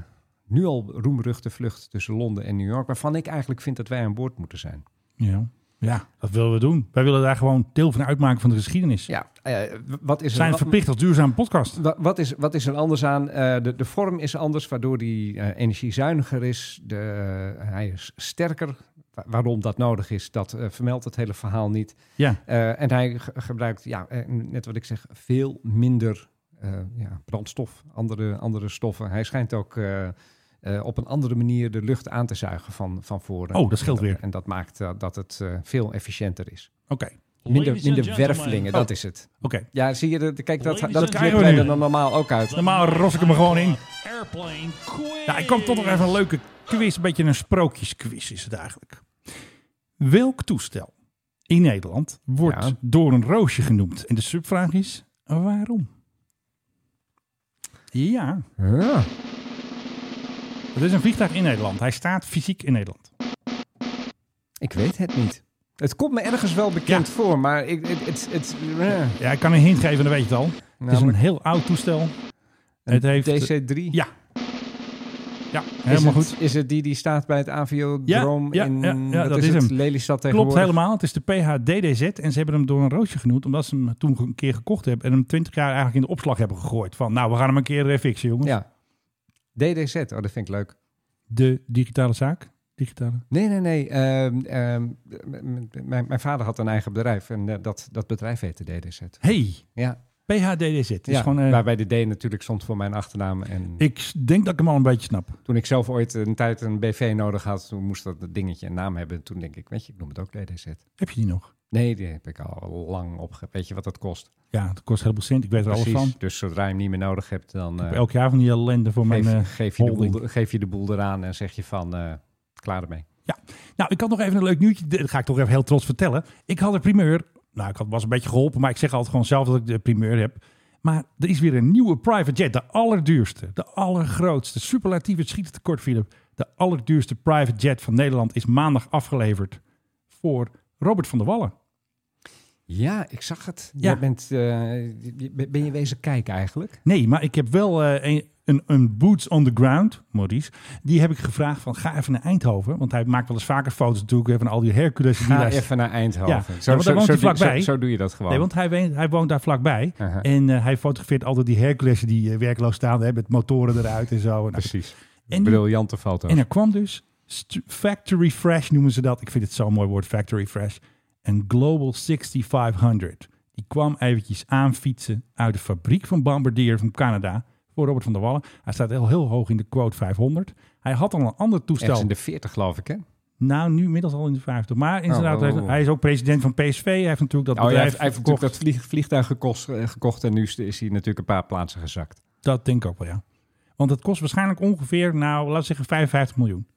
nu al roemruchte vlucht tussen Londen en New York, waarvan ik eigenlijk vind dat wij aan boord moeten zijn.
Ja. Ja, dat willen we doen. Wij willen daar gewoon deel van uitmaken van de geschiedenis.
Ja, eh, w- wat is
We
er...
zijn
wat-
verplicht als duurzame podcast.
Wa- Wat is, wat is er anders aan? Eh, de, de vorm is anders, waardoor die eh, energiezuiniger is. De, eh, hij is sterker. Wa- waarom dat nodig is, dat eh, vermeldt het hele verhaal niet.
Ja.
Eh, en hij ge- gebruikt, ja, eh, net wat ik zeg, veel minder eh, ja, brandstof, andere, andere stoffen. Hij schijnt ook eh, eh, op een andere manier de lucht aan te zuigen van, van voren.
Oh, dat scheelt
En
weer.
En dat maakt eh, dat het eh, veel efficiënter is.
Oké.
Minder,
Ladies and
minder
gentlemen.
wervelingen, dat is het.
Oké.
Ja, zie je, dat- kijk, dat,
Ladies
dat
and
knippen wij
gentlemen.
er dan normaal ook uit.
Normaal ros ik hem er gewoon in.
Airplane quiz.
Ja, Nou, ik kwam tot nog even een leuke quiz. Een beetje een sprookjesquiz is het eigenlijk. Welk toestel in Nederland wordt
Ja.
door een roosje genoemd? En de subvraag is, waarom? Ja,
Ja.
dat is een vliegtuig in Nederland. Hij staat fysiek in Nederland.
Ik weet het niet. Het komt me ergens wel bekend
Ja.
voor, maar ik, het, het, het, eh,
Ja, ik kan een hint geven, dan weet je het al. Het is een
namelijk
heel oud toestel. Het heeft...
DC-3.
Ja. Ja,
Is
helemaal
het-
goed.
Is het die die staat bij het aviodroom
Ja, ja,
in
ja, ja,
wat
dat is
het,
hem.
Lelystad
Klopt
tegenwoordig?
helemaal. Het is de PHDDZ en ze hebben hem door een roosje genoemd omdat ze hem toen een keer gekocht hebben en hem 20 jaar eigenlijk in de opslag hebben gegooid. Van nou, we gaan hem een keer eh, fixen, jongens.
Ja. DDZ, oh, dat vind ik leuk.
De digitale zaak. Digitale.
Nee, nee, nee. ehm, ehm, m- m- mijn, mijn vader had een eigen bedrijf en eh, dat, dat bedrijf heette DDZ.
Hey,
Ja,
PHDDZ. Het Is
ja
gewoon, eh,
waarbij de D natuurlijk stond voor mijn achternaam. En
Ik denk dat ik hem al een beetje snap.
toen ik zelf ooit een tijd een BV nodig had, toen moest dat dingetje een naam hebben. Toen denk ik, weet je, ik noem het ook DDZ.
Heb je die nog?
Nee, die heb ik al lang opge... Weet je wat dat kost?
Ja, het kost heel veel cent. Ik weet er alles
Precies.
van.
Dus zodra je hem niet meer nodig hebt, dan eh,
Elk jaar van die ellende voor mijn...
geef,
eh,
geef, je de
holding.
boel, geef je de boel eraan en zeg je van, eh, klaar ermee.
Nou, ik had nog even een leuk nieuwtje. Dat ga ik toch even heel trots vertellen. Ik had een primeur. Nou, ik had was een beetje geholpen, maar ik zeg altijd gewoon zelf dat ik de primeur heb. Maar er is weer een nieuwe private jet. De allerduurste, de allergrootste. Superlatief, het schiet het tekort, Philip. De allerduurste private jet van Nederland is maandag afgeleverd voor Robert van der Wallen.
Ja, ik zag het.
Ja.
Jij bent, eh, je- ben je wezen kijken eigenlijk?
Nee, maar ik heb wel eh, een, een, een boots on the ground, Maurice. Die heb ik gevraagd van ga even naar Eindhoven. Want hij maakt wel eens vaker foto's natuurlijk hè, van al die Hercules. en die
Ga
lijst.
even naar Eindhoven.
Ja, want daar woont hij
doe-
vlakbij.
zo doe je dat gewoon. Uh-huh.
Nee, want hij, ween- hij woont daar vlakbij.
Aha.
En eh, hij fotografeert altijd die Herculesen die eh, werkloos staan. Hè, met motoren eruit en zo. En,
Precies.
en, die-
Briljante foto.
en er kwam dus st- Factory Fresh noemen ze dat. Ik vind het zo'n mooi woord, Factory Fresh. Een Global 6500. Die kwam eventjes aanfietsen uit de fabriek van Bombardier van Canada. Voor Robert van der Wallen. Hij staat heel, heel hoog in de quote 500. Hij had al een ander
Ergens
toestel.
in de 40 geloof ik, hè?
Nou, nu inmiddels al in de 50. Maar inderdaad,
Oh, oh, oh.
hij is ook president van PSV. Hij heeft natuurlijk dat
Oh, ja,
bedrijf
hij heeft, hij heeft natuurlijk
verkocht.
dat vlieg- vliegtuig gekost, eh, gekocht en nu is- is hij natuurlijk een paar plaatsen gezakt.
Dat denk ik ook wel, ja. Want het kost waarschijnlijk ongeveer, nou, laten we zeggen 55 miljoen.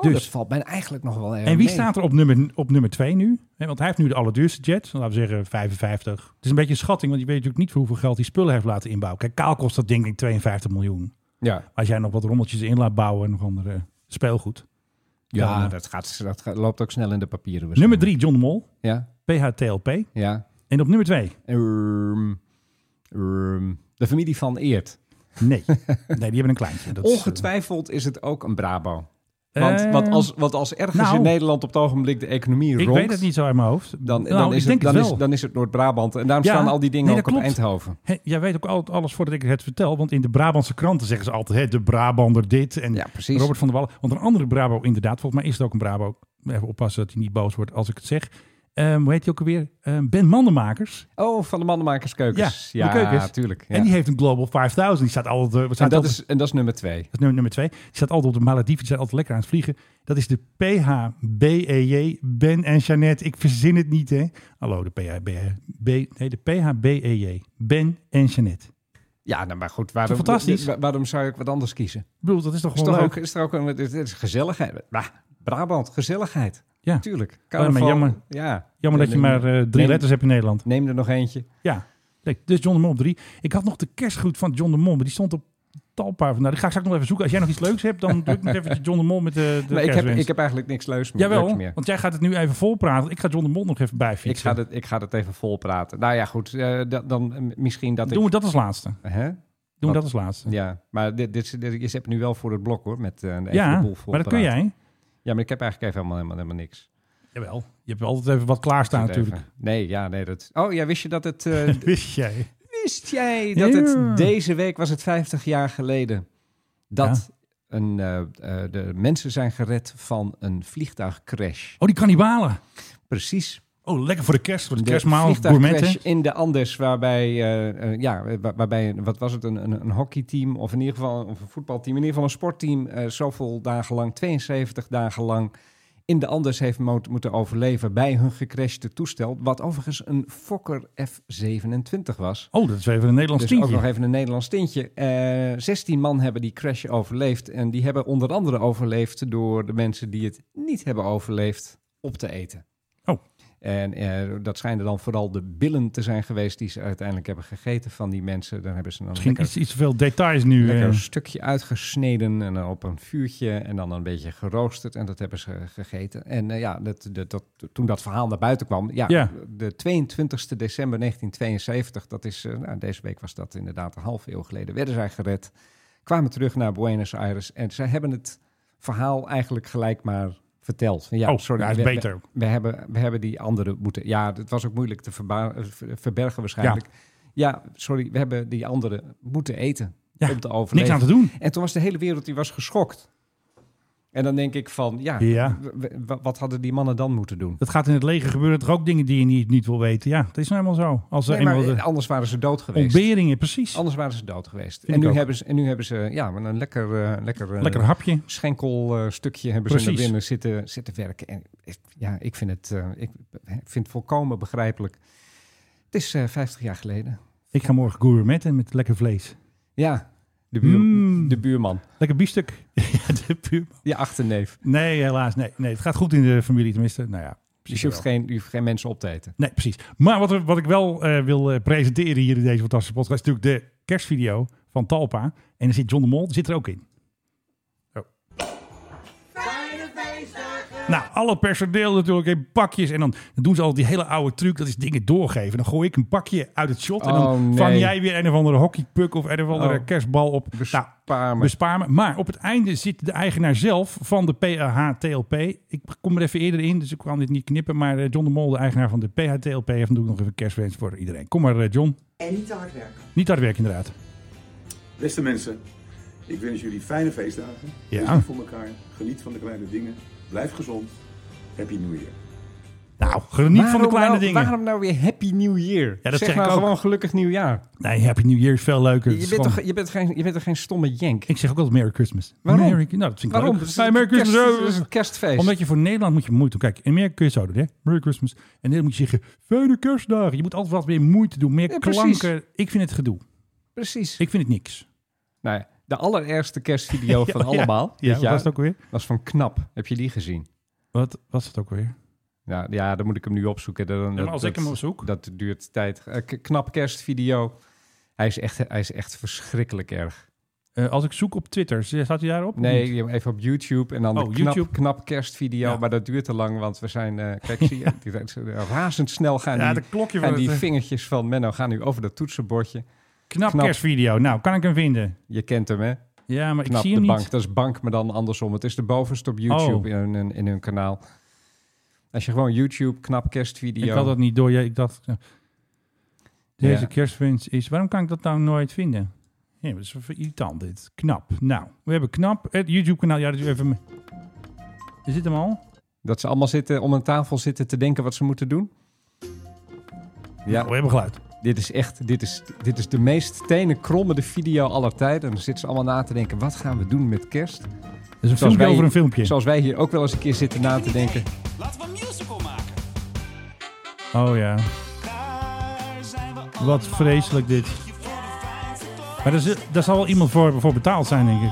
dus
Oh, dat
valt mij eigenlijk nog wel
en wie staat er op nummer, op nummer 2 nu? Hè, Want hij heeft nu de allerduurste jet, laten we zeggen 55. Het is een beetje een schatting, want je weet natuurlijk niet voor hoeveel geld hij spullen heeft laten inbouwen. Kijk, kaal kost dat denk ik 52 miljoen.
Ja,
Als jij nog wat rommeltjes in laat bouwen en nog andere speelgoed.
Ja,
Dan, eh,
dat, gaat, dat gaat- loopt ook snel in de papieren.
Nummer
waarschijnlijk.
3, John de Mol,
Ja,
PHTLP.
ja.
En op nummer 2,
Ehm, ehm, de familie van Eert.
nee. nee, die hebben een kleintje. Dat is, eh,
Ongetwijfeld is het ook een Brabo. Want,
eh,
want, als, want als ergens
nou.
in Nederland op het ogenblik de economie
Ik
ronkt...
weet het niet zo uit mijn hoofd.
Dan,
Nou,
dan, is,
ik denk
het, dan,
het wel.
is, dan is het Noord-Brabant. En daarom
Ja,
staan al die dingen
nee,
ook
dat
op
klopt.
Eindhoven.
Hé, jij weet ook altijd alles voordat ik het vertel. Want in de Brabantse kranten zeggen ze altijd hè, de Brabander dit en
Ja, precies.
Robert van der Wallen. Want een andere Brabo inderdaad, volgens mij is het ook een Brabo. Even oppassen dat hij niet boos wordt als ik het zeg. Ehm, hoe heet hij ook alweer? Ehm, ben Mandenmakers.
Oh, van de mannenmakerskeukens.
Ja, de keukens.
tuurlijk. Ja.
En die heeft een Global 5000. Die staat altijd... eh, wat
En
staat
dat,
altijd-
is, en dat is nummer twee.
dat is nummer, nummer twee. Die staat altijd op de Malediven. Die zijn altijd lekker aan het vliegen. Dat is de PHBEJ. E Ben en Jeannette. Ik verzin het niet, hè. Hallo, de PHBEJ. E Nee, de PHBEJ. E Ben en Jeannette.
Ja, nou, maar goed. Waarom,
fantastisch?
wa- waarom zou ik wat anders kiezen?
Ik bedoel, dat is toch
Is
gewoon
toch
leuk?
ook, is er ook een, het het is gezelligheid. Bah, Brabant, gezelligheid.
Ja.
Tuurlijk.
maar jammer.
Ja.
Jammer dat je
Neem-
maar eh, drie
neem-
letters hebt in Nederland.
Neem er nog eentje.
Ja, Nee, dus John de Mol op drie. Ik had nog de kerstgroet van John de Mol, maar die stond op talpaar. Nou, die ga ik straks nog even zoeken. Als jij nog iets leuks hebt, dan doe ik nog even John de Mol met de, de
Maar ik, heb,
kerstwens.
ik heb eigenlijk niks leuks meer. leuks
Jawel,
meer.
want jij gaat het nu even volpraten. Ik ga John de Mol nog even
Ik
bijfietsen.
ga, dat, ik ga dat even volpraten. Nou ja, goed. eh, dat, dan eh, misschien dat
Doen
ik...
we dat als laatste.
Hè?
Doen
Wat?
we dat als laatste. Ja,
Ja, maar dit, dit, dit- je zet me nu wel voor het blok hoor. Met eh, even de boel
maar dat kun
volpraten.
jij.
Ja, maar ik heb eigenlijk even helemaal, helemaal, helemaal niks.
Jawel, je hebt altijd even wat klaarstaan
Wacht even.
Nou, natuurlijk.
Nee, ja, nee. Dat... Oh ja, wist je dat het... eh,
Wist jij?
wist jij dat
Ja.
het deze week was het 50 jaar geleden dat een, eh, eh, de mensen zijn gered van een vliegtuigcrash.
Oh, die kannibalen.
Precies.
Oh, lekker voor de kerst, voor de,
De
kerstmaal,
vliegtuigcrash
gourmetten.
in de Andes, waarbij, eh, eh, ja, wa- waarbij een- wat was het, een, een, een hockeyteam of in ieder geval of een voetbalteam, in ieder geval een sportteam, eh, zoveel dagen lang, 72 dagen lang, in de Andes heeft mo- moeten overleven bij hun gecrashte toestel, wat overigens een Fokker F-27 was.
Oh, dat is even een Nederlands
Dus ook
tientje.
nog even een Nederlands tintje. Eh 16 man hebben die crash overleefd. En die hebben onder andere overleefd door de mensen die het niet hebben overleefd op te eten.
Oh.
En eh, dat schijnen dan vooral de billen te zijn geweest die ze uiteindelijk hebben gegeten van die mensen. Dan hebben ze dan
Misschien
lekker,
iets, iets te veel details nu.
lekker
eh.
een stukje uitgesneden en dan op een vuurtje en dan een beetje geroosterd. En dat hebben ze gegeten. En eh, ja, dat, dat, dat, toen dat verhaal naar buiten kwam, ja,
Ja.
de 22 december 1972, dat is, eh, nou, deze week was dat inderdaad een half eeuw geleden, werden zij gered, kwamen terug naar Buenos Aires en zij hebben het verhaal eigenlijk gelijk maar verteld. Ja,
oh, sorry, hij is
we- we-
beter.
we hebben, we hebben die andere moeten. Ja, het was ook moeilijk te verba- eh, ver- verbergen waarschijnlijk. Ja. sorry, we hebben die andere moeten eten
Ja,
om te
Niks
overleven.
aan te doen.
En toen was de hele wereld die was geschokt. En dan denk ik van, ja,
Ja.
w- w- w- wat hadden die mannen dan moeten doen?
Dat gaat in het leger gebeuren toch ook dingen die je niet, niet wil weten. Ja, dat is nou eenmaal zo. Als er
Nee, maar,
eenmaal de
eh, anders waren ze dood geweest.
ontberingen, precies.
Anders waren ze dood geweest.
Vind
En
ik
nu,
ook.
hebben ze, en nu hebben ze ja, maar een lekker, eh, lekker, eh,
Lekker hapje.
schenkelstukje eh, hebben ze
Precies.
naar binnen zitten, zitten werken. En ik- ja, ik vind het, eh, ik vind het volkomen begrijpelijk. Het is eh 50 jaar geleden.
Ik ga morgen gourmetten met lekker vlees.
Ja, de, buur,
Mm.
de buurman.
Lekker biefstuk. ja, de puur.
Je achterneef.
Nee, helaas. Nee, nee, het gaat goed in de familie tenminste. Nou ja,
Dus
precies.
je hoeft, geen, je hoeft geen mensen op te eten.
Nee, precies. Maar wat, er- wat ik wel eh, wil eh, presenteren hier in deze fantastische podcast... is natuurlijk de kerstvideo van Talpa. En daar zit John de Mol, die zit er ook in. Oh. Nou, alle personeel natuurlijk in pakjes. En dan doen ze al die hele oude truc, dat is dingen doorgeven. Dan gooi ik een pakje uit het shot en dan
Oh, nee.
vang jij weer een of andere hockeypuk... of een of andere
Oh.
kerstbal op. Nou,
Bespaar me.
bespaar me. Maar op het einde zit de eigenaar zelf van de PHTLP. Ik kom er even eerder in, dus ik kan dit niet knippen. Maar eh, John de Mol, de eigenaar van de PHTLP, heeft natuurlijk nog even een kerstwens voor iedereen. Kom maar, eh, John.
En niet te hard werken.
Niet hard werken, inderdaad.
Beste mensen, ik wens jullie fijne feestdagen.
Ja.
Wees lief voor elkaar. Geniet van de kleine dingen. Blijf gezond. Happy New Year.
Nou, geniet van de
Waarom
kleine
nou-
dingen.
Waarom nou weer Happy New Year?
dat
zeg
zeg ik
maar
ook.
gewoon gelukkig nieuwjaar.
Nee, Happy New Year is veel leuker. Het
Je
is
bent,
gewoon-
toch, je, bent geen, je bent toch geen stomme jenk?
Ik zeg ook altijd Merry Christmas.
Waarom?
Merry... Nou, dat vind ik
Waarom?
leuk.
Het is
Nee,
een
Merry
kerst-
Christmas.
het is een kerstfeest.
Omdat je voor Nederland moet je moeite doen. Kijk, in Amerika kun je het zo doen. Hè? Merry Christmas. En dan moet je zeggen, fijne kerstdagen. Je moet altijd wat meer moeite doen. Meer
Ja, precies.
klanken. Ik vind het gedoe.
Precies.
Ik vind het niks.
Nou ja, de allereerste kerstvideo van
Ja,
allemaal.
Ja,
dit
wat was
jaar,
het ook weer?
was van Knap. Heb je die gezien?
Wat was het ook weer?
Ja, ja, dan moet ik hem nu opzoeken. Dan,
Ja,
dat-
maar als ik
dat-
hem opzoek.
Dat duurt tijd. Eh, k- knap kerstvideo. Hij is, echt, hij is echt verschrikkelijk erg.
Eh, als ik zoek op Twitter, z- staat hij daarop? of
Nee,
niet?
je- even op YouTube en dan
Oh,
de knap,
YouTube.
knap kerstvideo.
Ja.
Maar dat duurt te lang, want we zijn... eh, kijk, zie je, die- die- razendsnel gaan
Ja,
die,
de klokje van
gaan die
het, eh,
vingertjes van Menno gaan nu over dat toetsenbordje.
knap,
knap.
kerstvideo. Nou, kan ik hem vinden?
Je kent hem, hè?
Ja, maar ik
Knap
zie
de
hem
bank.
niet.
Dat is bank, maar dan andersom. Het is de bovenste op YouTube
Oh.
in, hun, in hun kanaal. Als je gewoon YouTube, knap kerstvideo...
Ik had dat niet door. Ja, ik dacht, eh, deze
Ja.
kerstwens is... Waarom kan ik dat nou nooit vinden? Ja, dat is even irritant dit. Knap. Nou, we hebben knap. Het YouTube-kanaal. Ja, dat is even... me- Is dit hem al?
Dat ze allemaal zitten, om een tafel zitten te denken wat ze moeten doen.
Oh, we
Ja,
hebben geluid.
dit is echt, dit is, dit is de meest tenen krommende video aller tijden. En dan zitten ze allemaal na te denken, wat gaan we doen met kerst?
Dat is een filmpje over een filmpje.
Zoals wij hier ook wel eens een keer zitten na te denken.
Laten we een musical maken.
Oh ja.
Daar zijn we allemaal.
Wat vreselijk dit. Maar daar, zit- daar zal wel iemand voor, voor betaald zijn, denk ik.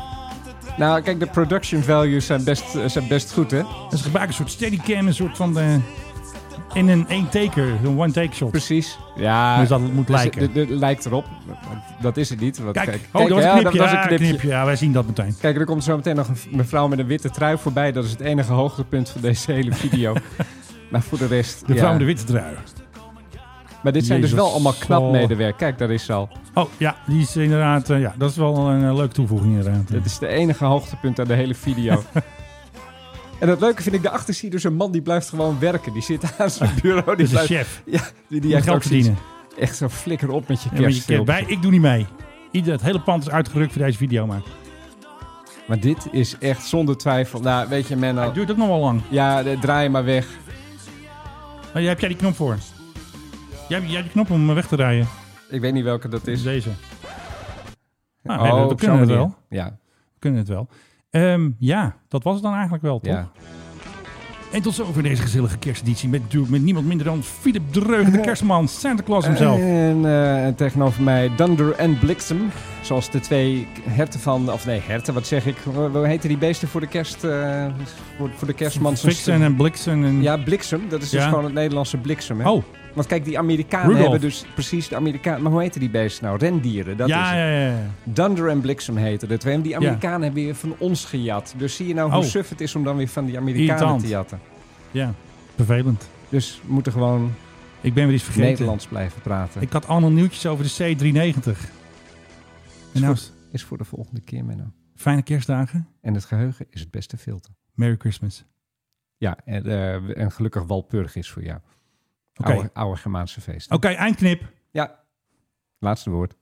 Nou, kijk, de production values zijn best, eh, zijn best goed, hè?
En ze gebruiken een soort steadycam, een soort van... eh, in een één-taker, een one-take shot.
Precies. Ja,
Dus dat moet
dus
lijken.
het- het- het lijkt erop. Dat is het niet. want
Kijk, oh,
kijk,
dat was
ja,
een knipje.
was een
Ah,
knipje.
Ja, wij zien dat meteen.
Kijk, er komt zo meteen nog een v- mevrouw met een witte trui voorbij. Dat is het enige hoogtepunt van deze hele video. maar voor de rest...
De
ja.
vrouw in de witte trui.
Maar dit zijn
Jezus.
dus wel allemaal knap
Oh.
medewerk. Kijk, daar is ze al.
Oh ja, die is inderdaad... eh, ja, dat is wel een eh, leuke toevoeging inderdaad.
Dat is de enige hoogtepunt aan de hele video. En het leuke vind ik, daarachter zie je dus een man die blijft gewoon werken. Die zit aan zijn bureau. Die
Dus de
blijft,
chef.
Ja, die, die
Die
heeft
geld
ook zoiets.
verdienen.
Echt zo flikker op met je
Ja, maar je
kerstfilm.
kent bij, ik doe niet mee. Ieder, het hele pand is uitgerukt voor deze video,
Nou.
maar
maar dit is echt zonder twijfel. Nou, weet je, Menno.
het duurt ook nog wel lang.
Ja, eh, draai maar weg.
Maar jij- heb jij die knop voor? Jij, jij hebt die knop om me weg te rijden.
Ik weet niet welke dat
Dus
is. Oh,
deze. Nou, nee, we kunnen
op zo'n
het
manier.
wel.
Ja,
We kunnen het wel. Ehm, ja, dat was het dan eigenlijk wel, toch?
ja.
En tot zover deze gezellige kersteditie met natuurlijk met niemand minder dan Philip Dreugen, de kerstman, Santa Claus hemzelf.
En, eh, en tegenover mij Dunder en Bliksem. Zoals de twee herten van... Of nee, herten, wat zeg ik? Hoe hoe heten die beesten voor de kerst... eh, voor, voor de kerstman?
Fixen en Bliksen en...
Ja, bliksem. Dat is dus
Ja.
gewoon het Nederlandse bliksem. Hè?
Oh,
Want kijk, die Amerikanen
Rudolph.
hebben dus precies de Amerikanen. Maar hoe heten die beesten nou? Rendieren. Dat is
ja,
het.
ja, ja, ja.
Dunder en bliksem heten de twee. En die Amerikanen hebben weer van ons gejat. Dus zie je nou hoe
Oh.
suf het is om dan weer van die Amerikanen
Irritant.
te jatten.
Ja, vervelend.
Dus we moeten gewoon
Ik ben weer iets vergeten.
Nederlands blijven praten.
Ik had allemaal nieuwtjes over de C390. En nou,
Is voor de volgende keer, Menno.
fijne kerstdagen.
En het geheugen is het beste filter.
Merry Christmas.
Ja, en, eh, en gelukkig Walpurg is voor jou.
Oké.
Oude, oude Germaanse feest.
Oké, eindknip.
Ja, laatste woord.